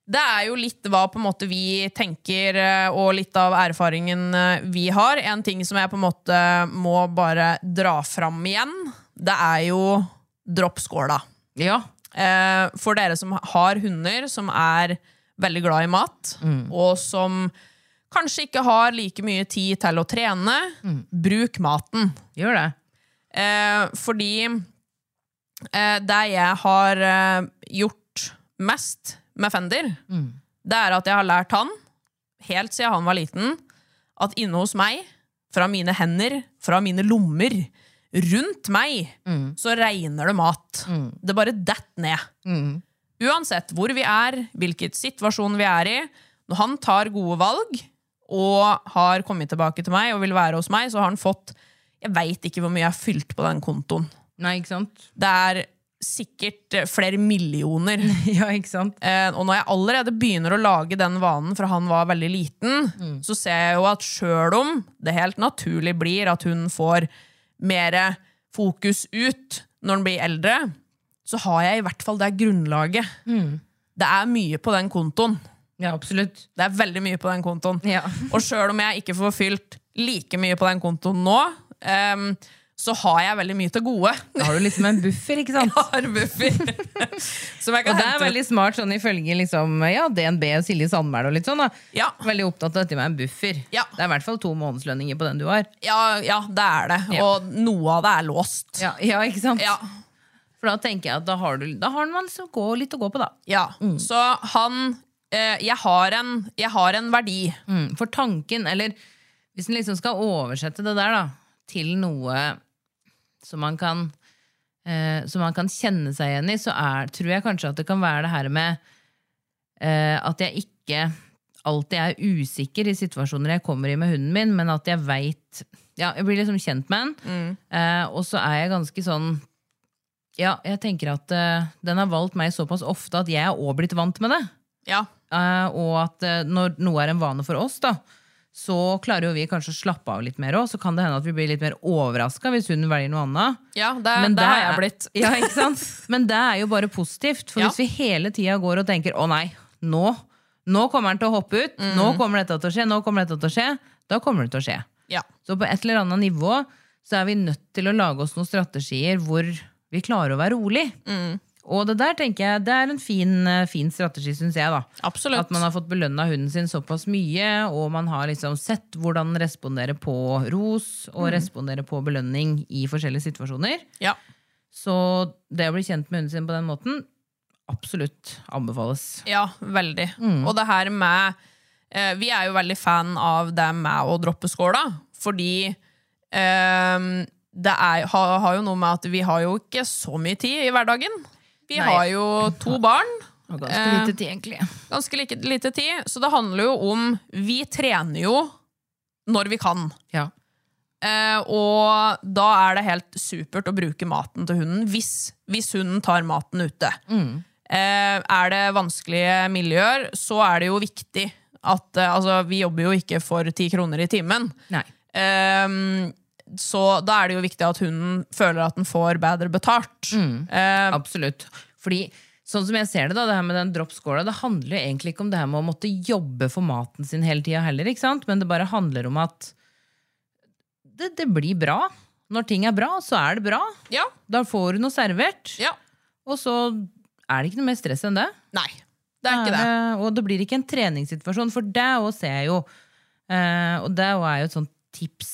S1: Det er jo litt hva på en måte vi tenker, eh, og litt av erfaringen eh, vi har. En ting som jeg på en måte må bare dra fram igjen, det er jo dropp skåla.
S2: Ja.
S1: Eh, For dere som har hunder som er veldig glad i mat, og som kanskje ikke har like mye tid til å trene, bruk maten.
S2: Gjør det.
S1: Eh, fordi eh, det jeg har eh, gjort mest med Fender, det er at jeg har lært han, helt siden han var liten, at inne hos meg, fra mine hender, fra mine lommer, rundt meg, så regner det mat. Det bare dett ned. Uansett hvor vi er, hvilket situasjon vi er i, når han tar gode valg og har kommet tilbake til meg og vil være hos meg, så har han fått Jeg veit ikke hvor mye jeg har fylt på den kontoen.
S2: Nei, ikke sant?
S1: Det er sikkert eh, flere millioner.
S2: ja, ikke sant?
S1: Eh, og når jeg allerede begynner å lage den vanen fra han var veldig liten,
S2: Mm.
S1: så ser jeg jo at sjøl om det helt naturlig blir at hun får mer fokus ut når hun blir eldre, så har jeg i hvert fall det grunnlaget.
S2: Mm.
S1: Det er mye på den kontoen.
S2: Ja, absolutt.
S1: Det er veldig mye på den kontoen.
S2: Ja.
S1: Og sjøl om jeg ikke får fylt like mye på den kontoen nå, em, så har jeg veldig mye til gode.
S2: Da har du liksom en buffer, ikke sant?
S1: Har buffer. Som jeg
S2: Og
S1: kan
S2: det er
S1: hente ut.
S2: veldig smart, sånn ifølge liksom, ja, DNB og Silje Sandmæl og litt sånn, da.
S1: Ja.
S2: Veldig opptatt av dette med en buffer.
S1: Ja.
S2: Det er i hvert fall to månedslønninger på den du har.
S1: Ja, ja, det er det.
S2: Ja.
S1: Og noe av det er låst.
S2: Ja, ja ikke sant?
S1: Ja.
S2: For da tenker jeg at da har, du, da har man så gå, litt å gå på, da.
S1: Ja.
S2: Mm.
S1: Så han eh, jeg, har en, jeg har en verdi.
S2: Mm, For tanken, eller hvis en liksom skal oversette det der, da, til noe som man kan eh, Som man kan kjenne seg igjen i, så er, tror jeg kanskje at det kan være det her med eh, at jeg ikke alltid er usikker i situasjoner jeg kommer i med hunden min, men at jeg veit ja, Jeg blir liksom kjent med den, eh, og så er jeg ganske sånn ja, jeg tenker at eh, Den har valgt meg såpass ofte at jeg er òg blitt vant med det.
S1: Ja.
S2: Eh, og at eh, når noe er en vane for oss, da, så klarer jo vi kanskje å slappe av litt mer òg. Så kan det hende at vi blir litt mer overraska hvis hun velger noe annet.
S1: Ja, det,
S2: Men
S1: det har
S2: er-
S1: jeg blitt.
S2: Ja, ikke sant? Men det er jo bare positivt. For
S1: Ja.
S2: hvis vi hele tida går og tenker 'Å nei, nå, nå kommer han til å hoppe ut',
S1: Mm.
S2: 'Nå kommer dette til å skje', 'Nå kommer dette til å skje', da kommer det til å skje.
S1: Ja.
S2: Så på et eller annet nivå så er vi nødt til å lage oss noen strategier hvor vi klarer å være rolig.
S1: Mm.
S2: Og det der tenker jeg, det er en fin, eh, fin strategi, syns jeg. da.
S1: Absolutt.
S2: At man har fått belønna hunden sin såpass mye, og man har liksom sett hvordan den responderer på ros og responderer på belønning i forskjellige situasjoner.
S1: Ja.
S2: Så det å bli kjent med hunden sin på den måten, absolutt anbefales.
S1: ja, veldig.
S2: Mm.
S1: Og det her med eh, Vi er jo veldig fan av det med å droppe skåla, fordi eh, det er, har, har jo noe med at vi har jo ikke så mye tid i hverdagen. Vi
S2: Nei.
S1: har jo to barn.
S2: Og
S1: Eh,
S2: ganske lite tid, egentlig.
S1: ganske like, lite tid, så det handler jo om Vi trener jo når vi kan.
S2: Ja.
S1: Eh, og da er det helt supert å bruke maten til hunden hvis, hvis hunden tar Mm. maten ute. Eh, er det vanskelige miljøer, så er det jo viktig at eh, altså, vi jobber jo ikke for ti kroner i timen.
S2: Nei.
S1: Ehm, så da er det jo viktig at hunden føler at den får bedre betalt. Ehm,
S2: Absolutt. Fordi sånn som jeg ser det, da, det her med den droppskåla, det handler jo egentlig ikke om det her med å måtte jobbe for maten sin hele tida heller, ikke sant? men det bare handler om at det, det blir bra. Når ting er bra, så er det bra.
S1: ja,
S2: Da får du noe servert.
S1: ja.
S2: Og så er det ikke noe mer stress enn det.
S1: Nei, det er ikke det.
S2: Eh, Og det blir ikke en treningssituasjon, for det òg ser jeg jo. Eh, Og det også er jo et sånt tips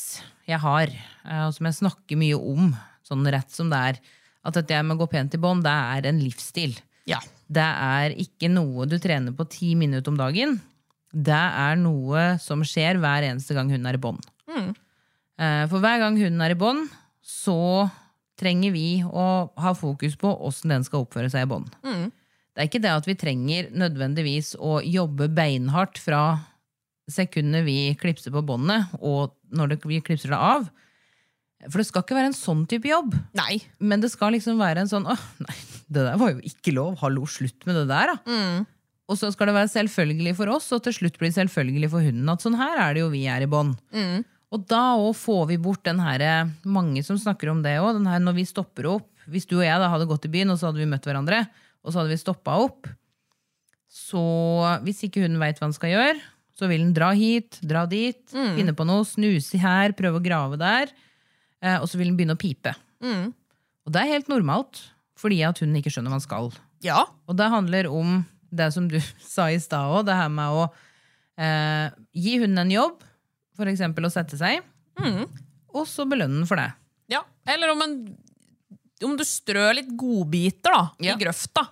S2: jeg har, eh, og som jeg snakker mye om, sånn rett som det er. At dette med å gå pent i bånd, det er en livsstil.
S1: Ja.
S2: Det er ikke noe du trener på ti minutter om dagen. Det er noe som skjer hver eneste gang hunden er i bånd. Eh, For hver gang hunden er i bånd, så trenger vi å ha fokus på åssen den skal oppføre seg i bånd. Det er ikke det at vi trenger nødvendigvis å jobbe beinhardt fra sekundene vi klipser på båndet, og når det, vi klipser det av. For det skal ikke være en sånn type jobb.
S1: Nei.
S2: Men det skal liksom være en sånn Åh, nei, det der var jo ikke lov. Hallo, slutt med det der, da. Og så skal det være selvfølgelig for oss, og til slutt blir det selvfølgelig for hunden. At sånn her er det jo vi er i bånd. Og da òg får vi bort den herre Mange som snakker om det òg. Når vi stopper opp. Hvis du og jeg da hadde gått i byen, og så hadde vi møtt hverandre, og så hadde vi stoppa opp, så hvis ikke hunden veit hva han skal gjøre, så vil den dra hit, dra dit, finne på noe, snuse her, prøve å grave der. eh, Og så vil den begynne å pipe. Og det er helt normalt, fordi at hunden ikke skjønner hva han skal.
S1: Ja.
S2: Og det handler om det som du sa i stad òg, det her med å eh, gi hunden en jobb, f.eks. å sette seg, og så belønne den for det.
S1: ja. Eller om, en, om du strør litt godbiter da,
S2: Ja. Mm.
S1: i grøfta,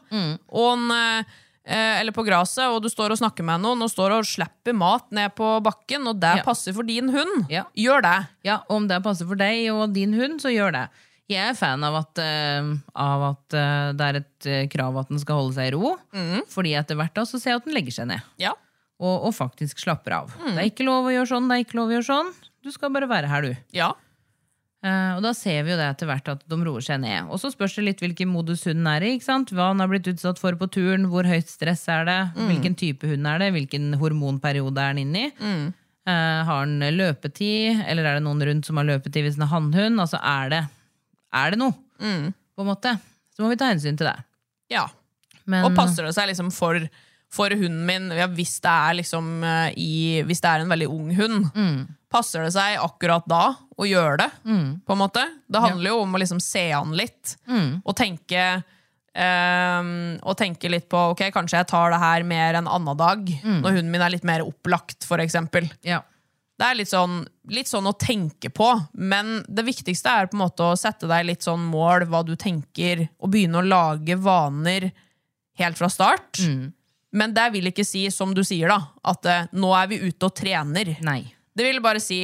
S1: og en, eh, eller på graset, og du står og snakker med noen, og står og slipper mat ned på bakken, og det
S2: Ja.
S1: passer for din hund,
S2: Ja.
S1: gjør det.
S2: Ja, Om det passer for deg og din hund, så gjør det. Jeg er fan av at, eh, av at eh, det er et eh, krav at den skal holde seg i ro. Fordi etter hvert da så ser jeg at den legger seg ned.
S1: Ja.
S2: Og, og faktisk slapper av. Det er ikke lov å gjøre sånn, det er ikke lov å gjøre sånn. Du skal bare være her, du.
S1: Ja.
S2: Eh, og da ser vi jo det etter hvert at de roer seg ned. Og så spørs det litt hvilken modus hunden er i. ikke sant? Hva han har blitt utsatt for på turen, hvor høyt stress er det, hvilken type hund er det, hvilken hormonperiode er han inne i. Eh, har han løpetid, eller er det noen rundt som har løpetid hvis han er hannhund? Altså er det, er det noe, på en måte? Så må vi ta hensyn til det.
S1: Ja.
S2: Men,
S1: Og passer det seg liksom for, for hunden min ja, hvis, det er liksom, eh, i, hvis det er en veldig ung hund? Passer det seg akkurat da å gjøre det? på en måte? Det handler jo om å liksom se an litt og tenke ehm, og tenke litt på ok, kanskje jeg tar det her mer en annen dag, når hunden min er litt mer opplagt. For eksempel.
S2: Ja.
S1: det er litt sånn, litt sånn å tenke på, men det viktigste er på en måte å sette deg litt sånn mål, hva du tenker, og begynne å lage vaner helt fra start.
S2: Mm.
S1: Men det vil ikke si, som du sier da, at eh, nå er vi ute og trener.
S2: Nei.
S1: Det vil bare si,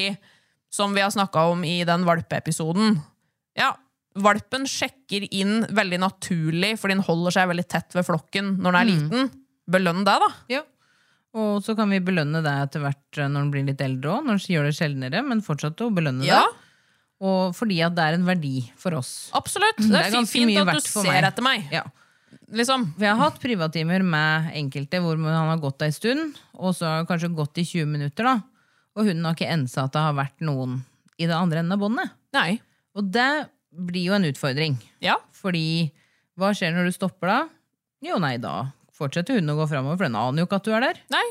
S1: som vi har snakka om i den valpeepisoden Ja, valpen sjekker inn veldig naturlig, fordi den holder seg veldig tett ved flokken når
S2: Mm.
S1: den er liten. Belønn det, da.
S2: Ja. Og så kan vi belønne det etter hvert eh, når han blir litt eldre òg, når han gjør det sjeldnere, men fortsatt å belønne
S1: Ja.
S2: det. Og fordi at det er en verdi for oss.
S1: Absolutt. Det er,
S2: Mm, Det er ganske
S1: fint
S2: mye
S1: at
S2: verdt
S1: du
S2: for
S1: ser
S2: meg.
S1: etter meg.
S2: Ja.
S1: Liksom.
S2: For jeg har hatt privattimer med enkelte hvor han har gått ei stund, og så har han kanskje gått i 20 minutter, da. Og hunden har ikke ensa at det har vært noen i det andre enden av båndet.
S1: Nei.
S2: Og det blir jo en utfordring.
S1: Ja.
S2: Fordi hva skjer når du stopper da? Jo, nei, da fortsetter hunden å gå framover, for den aner jo ikke at du er der.
S1: Nei.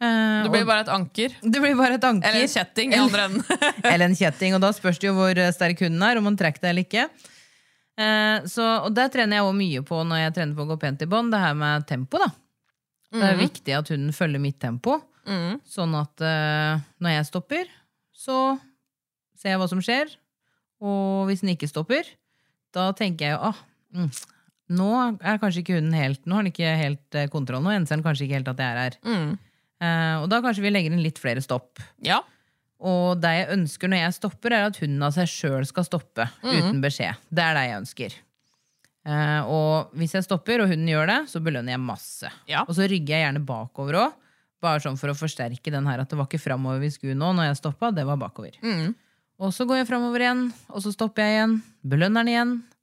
S2: Eh,
S1: Det blir bare et anker.
S2: og det blir bare et anker.
S1: Eller en kjetting i andre enden.
S2: Eller en kjetting, og da spørs det jo hvor eh, sterk hunden er, om han trekker deg eller ikke. Eh, så, og det trener jeg også mye på når jeg trener på å gå pent i bånd, det her med tempo, da. Det er viktig at hunden følger mitt tempo,
S1: Mm,
S2: sånn at eh, når jeg stopper, så ser jeg hva som skjer, og hvis den ikke stopper, da tenker jeg jo ah, mm, nå er kanskje ikke hunden helt Nå har den ikke helt eh, kontroll, nå enser den kanskje ikke helt at jeg er her. Eh, og da kanskje vi legger inn litt flere stopp.
S1: mm. ja.
S2: Og det jeg ønsker når jeg stopper, er at hunden av seg sjøl skal stoppe uten beskjed. Det er det jeg ønsker. Eh, og hvis jeg stopper, og hunden gjør det, så belønner jeg masse.
S1: Ja.
S2: Og så rygger jeg gjerne bakover òg, bare sånn for å forsterke den her at det var ikke framover vi skulle nå. Når jeg stoppa, det var bakover.
S1: Mm,
S2: Og så går jeg framover igjen, og så stopper jeg igjen. Belønner den igjen.
S1: mm.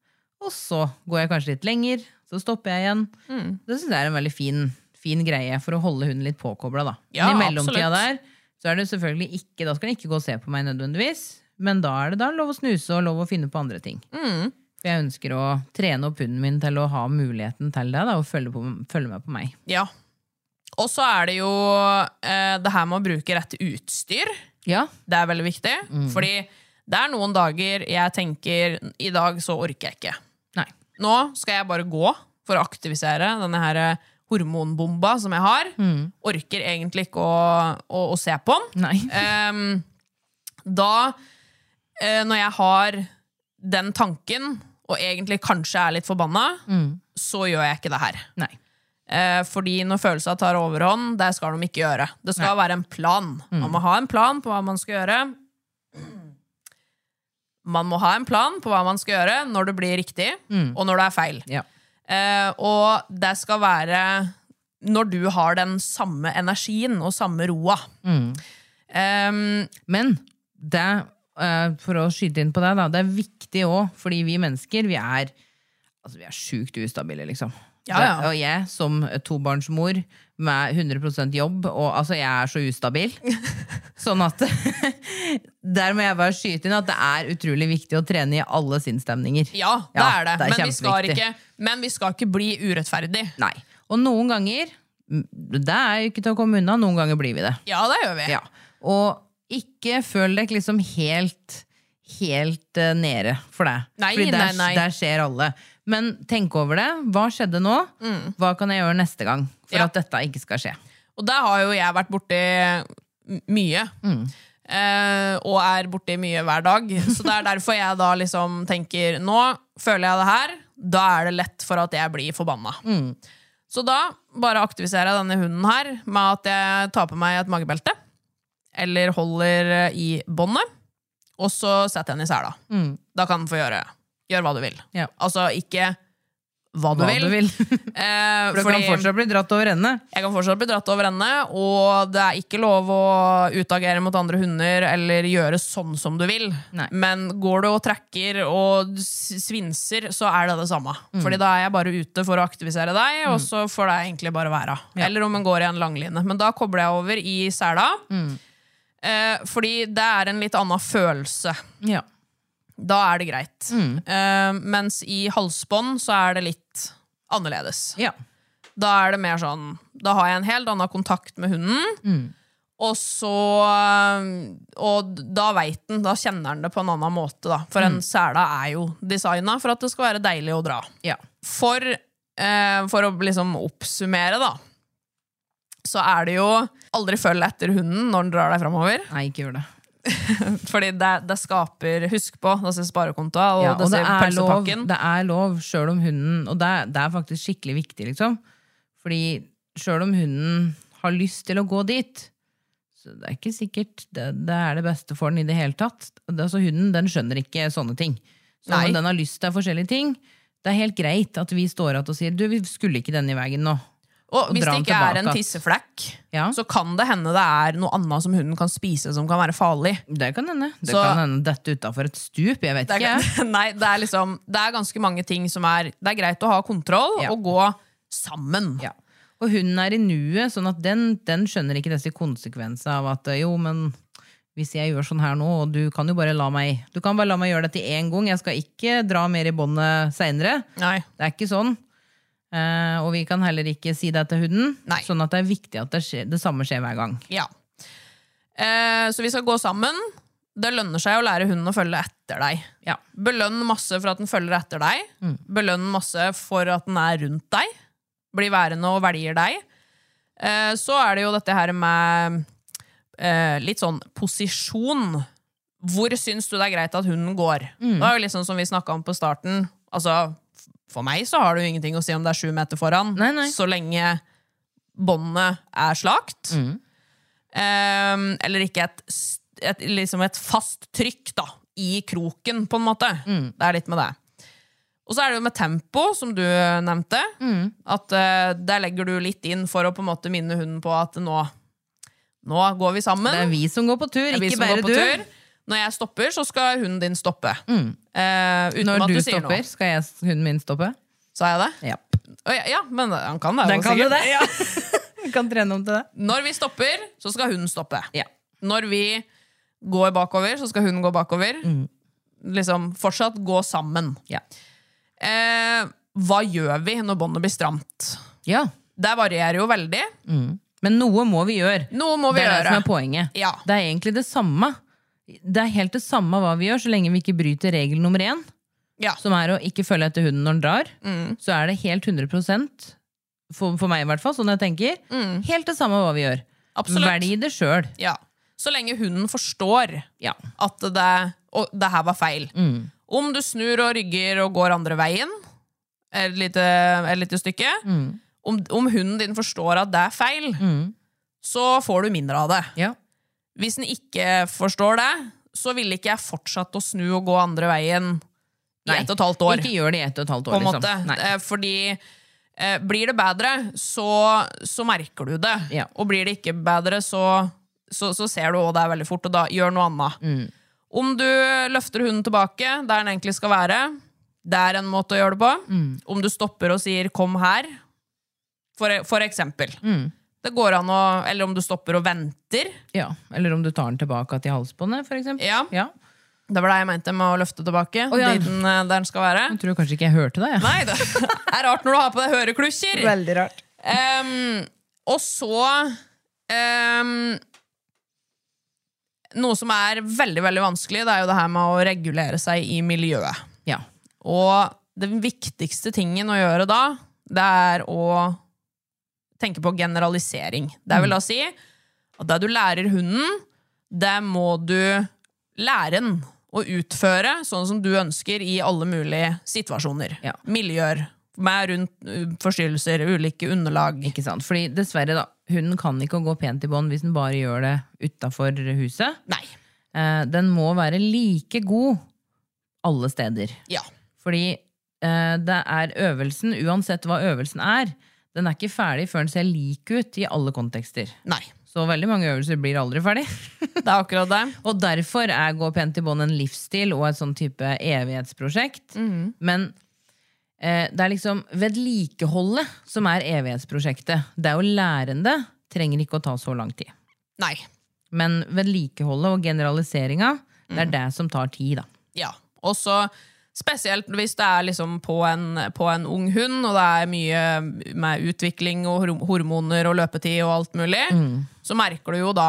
S2: Og så går jeg kanskje litt lenger, så stopper jeg igjen. Det syns jeg er en veldig fin, fin greie for å holde hunden litt påkobla. da.
S1: Ja,
S2: Men I mellomtida
S1: absolutt.
S2: der så er det selvfølgelig ikke, da skal den ikke gå og se på meg nødvendigvis, men da er det da lov å snuse og lov å finne på andre ting.
S1: Mm.
S2: For jeg ønsker å trene opp hunden min til å ha muligheten til det, da, og følge, på, følge med på meg.
S1: Ja. Og så er det jo eh, det her med å bruke rett utstyr.
S2: Ja,
S1: Det er veldig viktig.
S2: Mm.
S1: Fordi det er noen dager jeg tenker i dag så orker jeg ikke.
S2: Nei.
S1: Nå skal jeg bare gå for å aktivisere denne her eh, hormonbomba som jeg har.
S2: Mm.
S1: Orker egentlig ikke å, å, å se på den.
S2: Nei.
S1: Ehm, da, eh, når jeg har den tanken, og egentlig kanskje er litt forbanna, så gjør jeg ikke det her.
S2: Nei.
S1: Eh, fordi når følelser tar overhånd, det skal de ikke gjøre. Det skal være en plan. Man må ha en plan på hva man skal gjøre. Man må ha en plan på hva man skal gjøre når det blir riktig, og når det er feil.
S2: Ja.
S1: Eh, og det skal være når du har den samme energien og samme roa. Eh,
S2: Men det, eh, for å skyte inn på det, da, det er viktig òg, fordi vi mennesker vi er, altså, vi er sjukt ustabile, liksom.
S1: Ja, ja.
S2: Det, og jeg som tobarnsmor med 100 jobb, og altså, jeg er så ustabil. sånn at Der må jeg bare skyte inn at det er utrolig viktig å trene i alle sinnsstemninger.
S1: ja, det
S2: Ja,
S1: er det.
S2: det er
S1: men, vi skal
S2: kjempeviktig.
S1: ikke, men vi skal ikke bli urettferdig.
S2: Nei. Og noen ganger m, Det er jo ikke til å komme unna. Noen ganger blir vi det.
S1: Ja, det gjør vi.
S2: Ja. Og ikke føl deg liksom helt helt eh, nede for deg.
S1: Nei,
S2: Fordi der,
S1: nei, nei.
S2: der skjer alle. Men tenk over det. Hva skjedde nå? Hva kan jeg gjøre neste gang for
S1: Mm. Ja.
S2: at dette ikke skal skje?
S1: Og der har jo jeg vært borti m- mye.
S2: Mm.
S1: Eh, og er borti mye hver dag. Så det er derfor jeg da liksom tenker Nå føler jeg det her. Da er det lett for at jeg blir forbanna.
S2: Mm.
S1: Så da bare aktiviserer jeg denne hunden her med at jeg tar på meg et magebelte. Eller holder i båndet. Og så setter jeg den i sela. Da kan den få gjøre Gjør hva du vil.
S2: Mm. Ja.
S1: Altså ikke hva du
S2: Hva
S1: vil.
S2: du vil.
S1: Eh,
S2: For du
S1: fordi-
S2: kan fortsatt bli dratt over ende.
S1: jeg kan fortsatt bli dratt over ende, og det er ikke lov å utagere mot andre hunder eller gjøre sånn som du vil.
S2: Nei.
S1: Men går du og trekker og s- svinser, så er det det samme. Fordi da er jeg bare ute for å aktivisere deg, og så får det egentlig bare være. Eller om en går i en langline. Men da kobler jeg over i sela, eh, fordi det er en litt annen følelse.
S2: Ja.
S1: Da er det greit. Eh, mens i halsbånd så er det litt annerledes
S2: ja.
S1: da er det mer sånn Da har jeg en helt annen kontakt med hunden.
S2: Mm.
S1: Og så eh, Og da veit den. Da kjenner den det på en annen måte, da. For
S2: Mm.
S1: en sele er jo designa for at det skal være deilig å dra.
S2: ja.
S1: For, eh, for å liksom oppsummere, da, så er det jo aldri følg etter hunden når den drar deg framover.
S2: Nei, ikke gjør det.
S1: Fordi det, det skaper Husk på, det sier sparekonta, og,
S2: Ja,
S1: det
S2: og det
S1: sier
S2: er lov,
S1: pølsepakken.
S2: det er lov sjøl om hunden Og det, er- det er faktisk skikkelig viktig, liksom. Fordi sjøl om hunden har lyst til å gå dit, så det er ikke sikkert det, det er det beste for den i det hele tatt. Det, altså, hunden den skjønner ikke sånne ting. Så
S1: Nei.
S2: om den har lyst til forskjellige ting, det er helt greit at vi står igjen og sier du, vi skulle ikke denne veien nå.
S1: Og hvis
S2: dra den
S1: det ikke
S2: tilbake
S1: er en
S2: att.
S1: tisseflekk,
S2: Ja.
S1: så kan det hende det er noe annet som hunden kan spise som kan være farlig.
S2: Det kan hende. Det
S1: Så-
S2: kan hende dette utafor et stup, jeg vet
S1: Det er,
S2: ikke.
S1: nei, det er liksom Det er ganske mange ting som er Det er greit å ha kontroll
S2: Ja.
S1: og gå sammen.
S2: Ja. Og hunden er i nuet, sånn at den, den skjønner ikke disse konsekvensene av at eh, jo, men hvis jeg gjør sånn her nå, og du kan jo bare la meg Du kan bare la meg gjøre dette én gang, jeg skal ikke dra mer i båndet seinere.
S1: Nei.
S2: Det er ikke sånn. Eh, og vi kan heller ikke si det til hunden.
S1: Nei.
S2: Sånn at det er viktig at det, skjer, det samme skjer hver gang.
S1: Ja. Eh, så vi skal gå sammen. Det lønner seg å lære hunden å følge etter deg.
S2: Ja. Mm.
S1: Belønn masse for at den følger etter deg. Belønn masse for at den er rundt deg. Blir værende og velger deg. Eh, så er det jo dette her med eh, litt sånn posisjon. Hvor syns du det er greit at hunden går?
S2: Mm.
S1: Det var jo litt sånn som vi snakka om på starten. Altså, f- for meg så har det jo ingenting å si om det er sju meter foran,
S2: Nei, nei.
S1: så lenge båndet er slakt. Ehm, eller ikke et, s- et, liksom et fast trykk da, i kroken, på en måte.
S2: Mm.
S1: Det er litt med det. Og så er det jo med tempo, som du nevnte.
S2: Mm.
S1: At eh, der legger du litt inn for å på en måte minne hunden på at nå, nå går vi sammen.
S2: Det er vi som går på tur,
S1: Det er vi
S2: ikke
S1: som
S2: bare
S1: går på
S2: du. Mm.
S1: tur. Når jeg stopper, så skal hunden din stoppe. Eh, uten
S2: Når
S1: at
S2: du
S1: du sier
S2: stopper,
S1: noe.
S2: skal jeg, hunden min stoppe?
S1: Sa jeg det?
S2: Ja.
S1: Å, ja, ja, men han kan det.
S2: Den
S1: jo
S2: kan jo
S1: sikkert.
S2: det. Vi kan trene om til det.
S1: Når vi stopper, så skal hun stoppe.
S2: Ja.
S1: Når vi går bakover, så skal hun gå bakover. Liksom fortsatt gå sammen.
S2: Mm. Ja.
S1: Eh, hva gjør vi når båndet blir stramt?
S2: ja.
S1: Det varierer jo veldig.
S2: Men noe må vi gjøre.
S1: Noe må vi
S2: Mm. det er det
S1: gjøre.
S2: som er poenget.
S1: Ja.
S2: Det er egentlig det samme. Det er helt det samme hva vi gjør, så lenge vi ikke bryter regel nummer én,
S1: Ja.
S2: som er å ikke følge etter hunden når den drar,
S1: Mm.
S2: så er det helt 100 for, for meg i hvert fall, sånn jeg tenker, helt det samme hva vi gjør.
S1: Mm. Absolutt.
S2: Velg det sjøl.
S1: Ja. Så lenge hunden forstår
S2: Ja. Mm.
S1: at det, og det her var feil. Om du snur og rygger og går andre veien, et lite, et lite stykke,
S2: Mm.
S1: om, om hunden din forstår at det er feil, så får du mindre av det.
S2: Ja.
S1: Hvis den ikke forstår det, så ville ikke jeg fortsatt å snu og gå andre veien i
S2: Nei.
S1: ett og et halvt år
S2: Ikke gjør det i ett og et halvt år.
S1: på en måte.
S2: liksom. Nei.
S1: Eh, Fordi eh, blir det bedre, så, så merker du det.
S2: Ja.
S1: Og blir det ikke bedre, så, så, så ser du òg det veldig fort, og da gjør noe annet.
S2: Mm.
S1: Om du løfter hunden tilbake der den egentlig skal være, det er en måte å gjøre det på.
S2: Mm.
S1: Om du stopper og sier 'kom her', for, for eksempel.
S2: Mm.
S1: Det går an å Eller om du stopper og venter.
S2: Ja. Eller om du tar den tilbake til halsbåndet, for eksempel.
S1: Ja.
S2: Ja.
S1: Det var det jeg mente med å løfte tilbake.
S2: Å, ja.
S1: dit den, eh, der den skal være.
S2: Jeg tror kanskje ikke jeg hørte deg. Ja.
S1: Nei, det er rart når du har på deg høreklusjer. Veldig rart. og så ehm, Noe som er veldig veldig vanskelig, det er jo det her med å regulere seg i miljøet.
S2: Ja.
S1: Og den viktigste tingen å gjøre da, det er å tenke på generalisering. Det
S2: Mm.
S1: vil da si at det du lærer hunden, det må du lære den å utføre sånn som du ønsker i alle mulige situasjoner.
S2: Ja.
S1: Miljøer med rundt uh, forstyrrelser, ulike underlag.
S2: Ikke sant? Fordi dessverre, da. Hunden kan ikke gå pent i bånd hvis den bare gjør det utafor huset.
S1: Nei.
S2: Eh, den må være like god alle steder.
S1: Ja.
S2: Fordi eh, det er øvelsen, uansett hva øvelsen er, den er ikke ferdig før den ser lik ut i alle kontekster.
S1: Nei.
S2: Så veldig mange øvelser blir aldri ferdig.
S1: Det er akkurat det.
S2: Og derfor er Gå pent i bånd en livsstil og et sånn type evighetsprosjekt.
S1: Mhm.
S2: Men eh, det er liksom vedlikeholdet som er evighetsprosjektet. Det er jo lærende. Trenger ikke å ta så lang tid.
S1: Nei.
S2: Men vedlikeholdet og generaliseringa, det er det som tar tid, da.
S1: Ja. Og så spesielt hvis det er liksom på, en, på en ung hund, og det er mye med utvikling og horm- hormoner og løpetid og alt mulig, så merker du jo da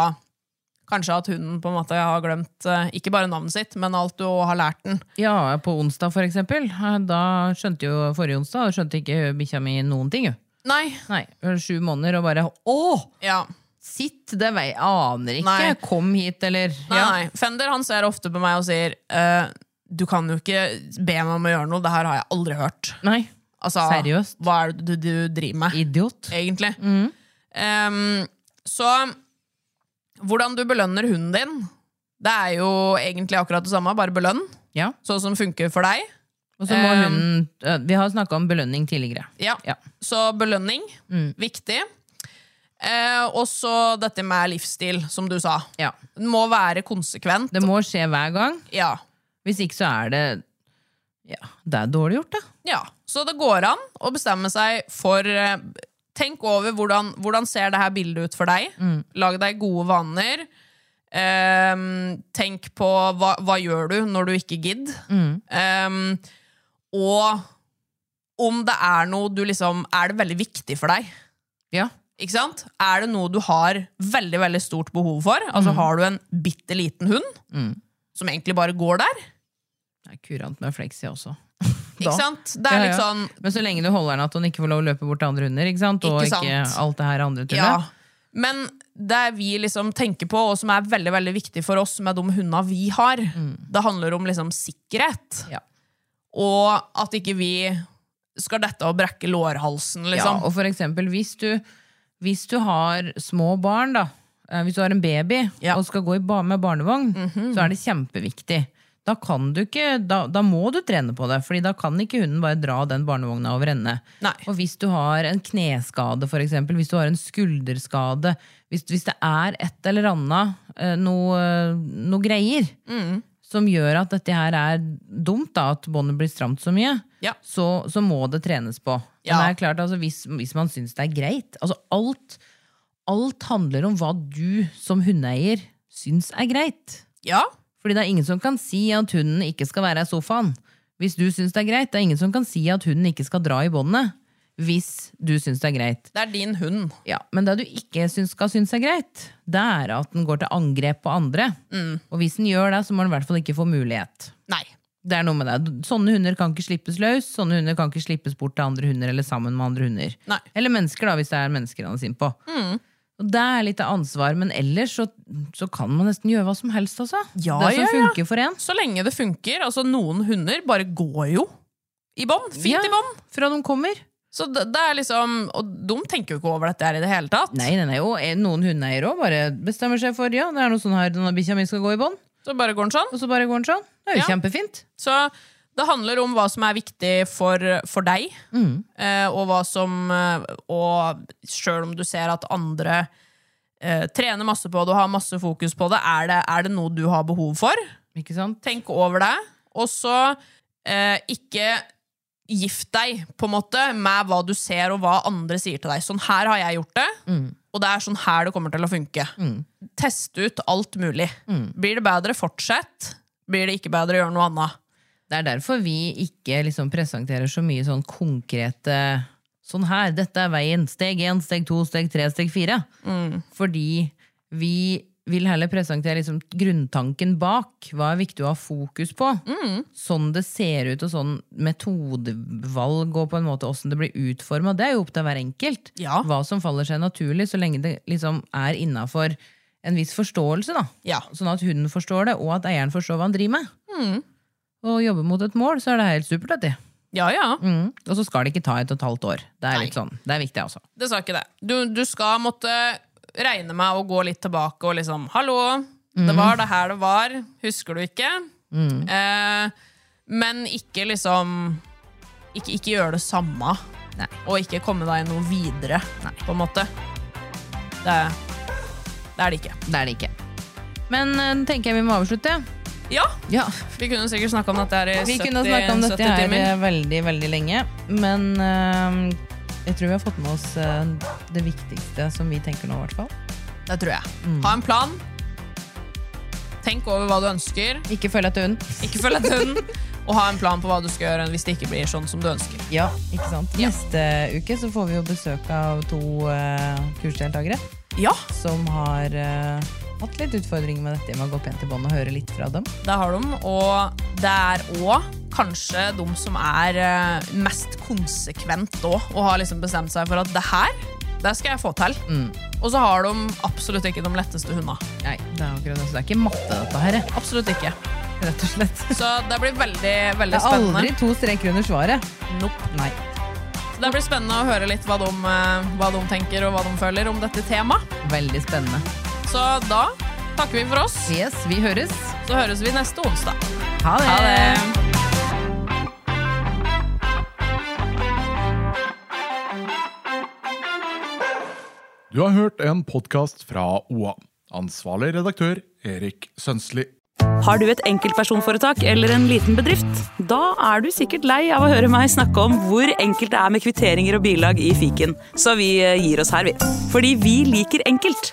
S1: kanskje at hunden på en måte har glemt eh, ikke bare navnet sitt, men alt du har lært den.
S2: Ja, på onsdag, for eksempel. eh, Da skjønte jo forrige onsdag, da skjønte ikke bikkja mi noen ting, jo.
S1: Nei.
S2: Nei, sju måneder og bare Å!
S1: Ja.
S2: Sitt! Det vei, aner ikke.
S1: Nei.
S2: Kom hit, eller
S1: Nei, nei. Fender han ser ofte på meg og sier eh, du kan jo ikke be meg om å gjøre noe, det her har jeg aldri hørt.
S2: Nei.
S1: Altså,
S2: Seriøst?
S1: Hva er det du, du driver med?
S2: Idiot.
S1: egentlig.
S2: Mm.
S1: Ehm, så hvordan du belønner hunden din, det er jo egentlig akkurat det samme, bare belønn.
S2: Ja.
S1: Sånn som funker for deg.
S2: Og så må
S1: Um,
S2: hunden øh, Vi har snakka om belønning tidligere.
S1: Ja.
S2: Ja. Mm.
S1: Så belønning, viktig. Eh, og så dette med livsstil, som du sa.
S2: Ja.
S1: Den må være konsekvent.
S2: Det må skje hver gang.
S1: Ja.
S2: Hvis ikke så er det Ja, det er dårlig gjort, da.
S1: ja. Så det går an å bestemme seg for eh, Tenk over hvordan, hvordan ser det her bildet ut for deg.
S2: Mm.
S1: Lag deg gode vaner. Ehm, tenk på hva, hva gjør du når du ikke gidder.
S2: Mm.
S1: Ehm, og om det er noe du liksom Er det veldig viktig for deg?
S2: Ja.
S1: Ikke sant? Er det noe du har veldig veldig stort behov for?
S2: Mm.
S1: Altså Har du en bitte liten hund som egentlig bare går der?
S2: Det er kurant med flexi også.
S1: Ikke sant? Det er
S2: Ja, ja.
S1: litt sånn
S2: Men så lenge du holder den at hun ikke får lov å løpe bort til andre hunder, ikke sant? og
S1: Ikke
S2: ikke,
S1: sant.
S2: alt det her andre tullet.
S1: Ja. Men det vi liksom tenker på, og som er veldig veldig viktig for oss med de hundene vi har, det handler om liksom sikkerhet.
S2: Mm. Ja.
S1: Og at ikke vi skal dette og brekke lårhalsen, liksom.
S2: Ja, og for eksempel hvis du, hvis du har små barn, da, eh, hvis du har en baby
S1: Ja. Mhm.
S2: og skal gå i ba med barnevogn, så er det kjempeviktig. Da, kan du ikke, da, da må du trene på det, Fordi da kan ikke hunden bare dra den barnevogna over ende.
S1: Nei.
S2: Og hvis du har en kneskade, for eksempel, hvis du har en skulderskade,
S1: Mm.
S2: hvis, hvis det er et eller annet, eh, noe, noe greier, som gjør at dette her er dumt, da, at båndet blir stramt så mye,
S1: Ja.
S2: så, så må det trenes på.
S1: Ja.
S2: Men det er klart, altså, hvis, hvis man syns det er greit altså alt, alt handler om hva du som hundeeier syns er greit.
S1: Ja.
S2: Fordi det er ingen som kan si at hunden ikke skal være i sofaen. Hvis du syns det er greit, det er ingen som kan si at hunden ikke skal dra i båndet. Hvis du syns det er greit.
S1: Det er din hund.
S2: Ja, Men det du ikke syns skal synes er greit, det er at den går til angrep på andre. Og hvis den gjør det, så må den i hvert fall ikke få mulighet.
S1: Nei.
S2: Det er noe med det. Sånne hunder kan ikke slippes løs. Sånne hunder kan ikke slippes bort til andre hunder eller sammen med andre hunder.
S1: Nei. Mm.
S2: Eller mennesker, da, hvis det er mennesker han er innpå. Og Det er litt av ansvar, men ellers så, så kan man nesten gjøre hva som helst. Altså.
S1: Ja,
S2: det som
S1: ja, ja.
S2: funker for en.
S1: Så lenge det funker. Altså, noen hunder bare går jo i bånd. Fint
S2: Ja.
S1: i bånd.
S2: Fra de kommer.
S1: Så det, det er liksom Og de tenker jo ikke over dette her i det hele tatt.
S2: Nei, nei, nei. Og eh, noen hundeeiere òg bare bestemmer seg for ja, det er noe sånn her, denne bikkja mi skal gå i bånd.
S1: Så bare går den sånn.
S2: Og så bare går den sånn. Det er jo
S1: Ja.
S2: kjempefint.
S1: Så det handler om hva som er viktig for, for deg, eh, og hva som eh, Og sjøl om du ser at andre eh, trener masse på det og har masse fokus på det, er det, er det noe du har behov for?
S2: Ikke sant?
S1: Tenk over det. Og så eh, ikke gift deg, på en måte, med hva du ser og hva andre sier til deg. Sånn her har jeg gjort det, og det er sånn her det kommer til å funke. Test ut alt mulig. Blir det bedre, fortsett. Blir det ikke bedre, gjør noe annet.
S2: Det er derfor vi ikke liksom presenterer så mye sånn konkrete Sånn her, dette er veien. Steg én, steg to, steg tre, steg fire. Fordi vi vil heller presentere liksom grunntanken bak. Hva er viktig å ha fokus på? Sånn det ser ut, og sånn metodevalg og på en måte åssen det blir utforma, det er jo opp til hver enkelt.
S1: Ja.
S2: Hva som faller seg naturlig, så lenge det liksom er innafor en viss forståelse, da.
S1: Ja.
S2: Sånn at hunden forstår det, og at eieren forstår hva han driver med. Og jobber mot et mål, så er det helt supert. dette.
S1: Ja, ja.
S2: Og så skal det ikke ta et og et halvt år. Det er, litt sånn. det er viktig, altså.
S1: Det sa ikke det. Du, du skal måtte regne med å gå litt tilbake og liksom Hallo, det
S2: Mm.
S1: var det her det var. Husker du ikke? Eh, men ikke liksom Ikke, ikke gjøre det samme.
S2: Nei.
S1: Og ikke komme deg noe videre, på en måte. Det, det er det ikke.
S2: Det er det ikke. Men eh, tenker jeg vi må avslutte.
S1: Ja,
S2: Ja,
S1: vi kunne sikkert snakka om dette her i
S2: Vi
S1: 70,
S2: kunne ha snakka om dette
S1: 70
S2: her
S1: timer.
S2: eh, veldig, veldig lenge. Men eh, jeg tror vi har fått med oss eh, det viktigste som vi tenker nå, i hvert fall.
S1: Det tror jeg.
S2: Mm.
S1: Ha en plan. Tenk over hva du ønsker.
S2: Ikke følg etter hunden.
S1: Ikke følg etter hunden. Og ha en plan på hva du skal gjøre hvis det ikke blir sånn som du ønsker.
S2: Ja, ikke sant? Neste uke så får vi jo besøk av to eh, kursdeltakere.
S1: Ja,
S2: som har eh, hatt litt utfordringer med dette med å gå pent i bånd og høre litt fra dem.
S1: det har de. Og det er òg kanskje de som er eh, mest konsekvent òg, og har liksom bestemt seg for at det her, det skal jeg få til. Og så har de absolutt ikke de letteste hundene.
S2: Nei, det er akkurat det. Så det er ikke matte, dette her, eh,
S1: Absolutt ikke.
S2: rett og slett.
S1: Så det blir veldig,
S2: Det
S1: veldig
S2: er aldri
S1: spennende.
S2: to streker under svaret.
S1: Nope.
S2: Nei.
S1: Så det blir spennende å høre litt hva de, eh, hva de tenker og hva de føler om dette temaet.
S2: Veldig spennende.
S1: Så da takker vi for oss.
S2: Yes, vi høres.
S1: Så høres vi neste onsdag. Eh,
S2: Ha
S1: Ha det.
S3: Du har hørt en podkast fra OA. Ansvarlig redaktør Erik Sønsli.
S4: Har du et enkeltpersonforetak eller en liten bedrift? Da er du sikkert lei av å høre meg snakke om hvor enkelt det er med kvitteringer og bilag i fiken, så vi eh, gir oss her, vi. Fordi vi liker enkelt.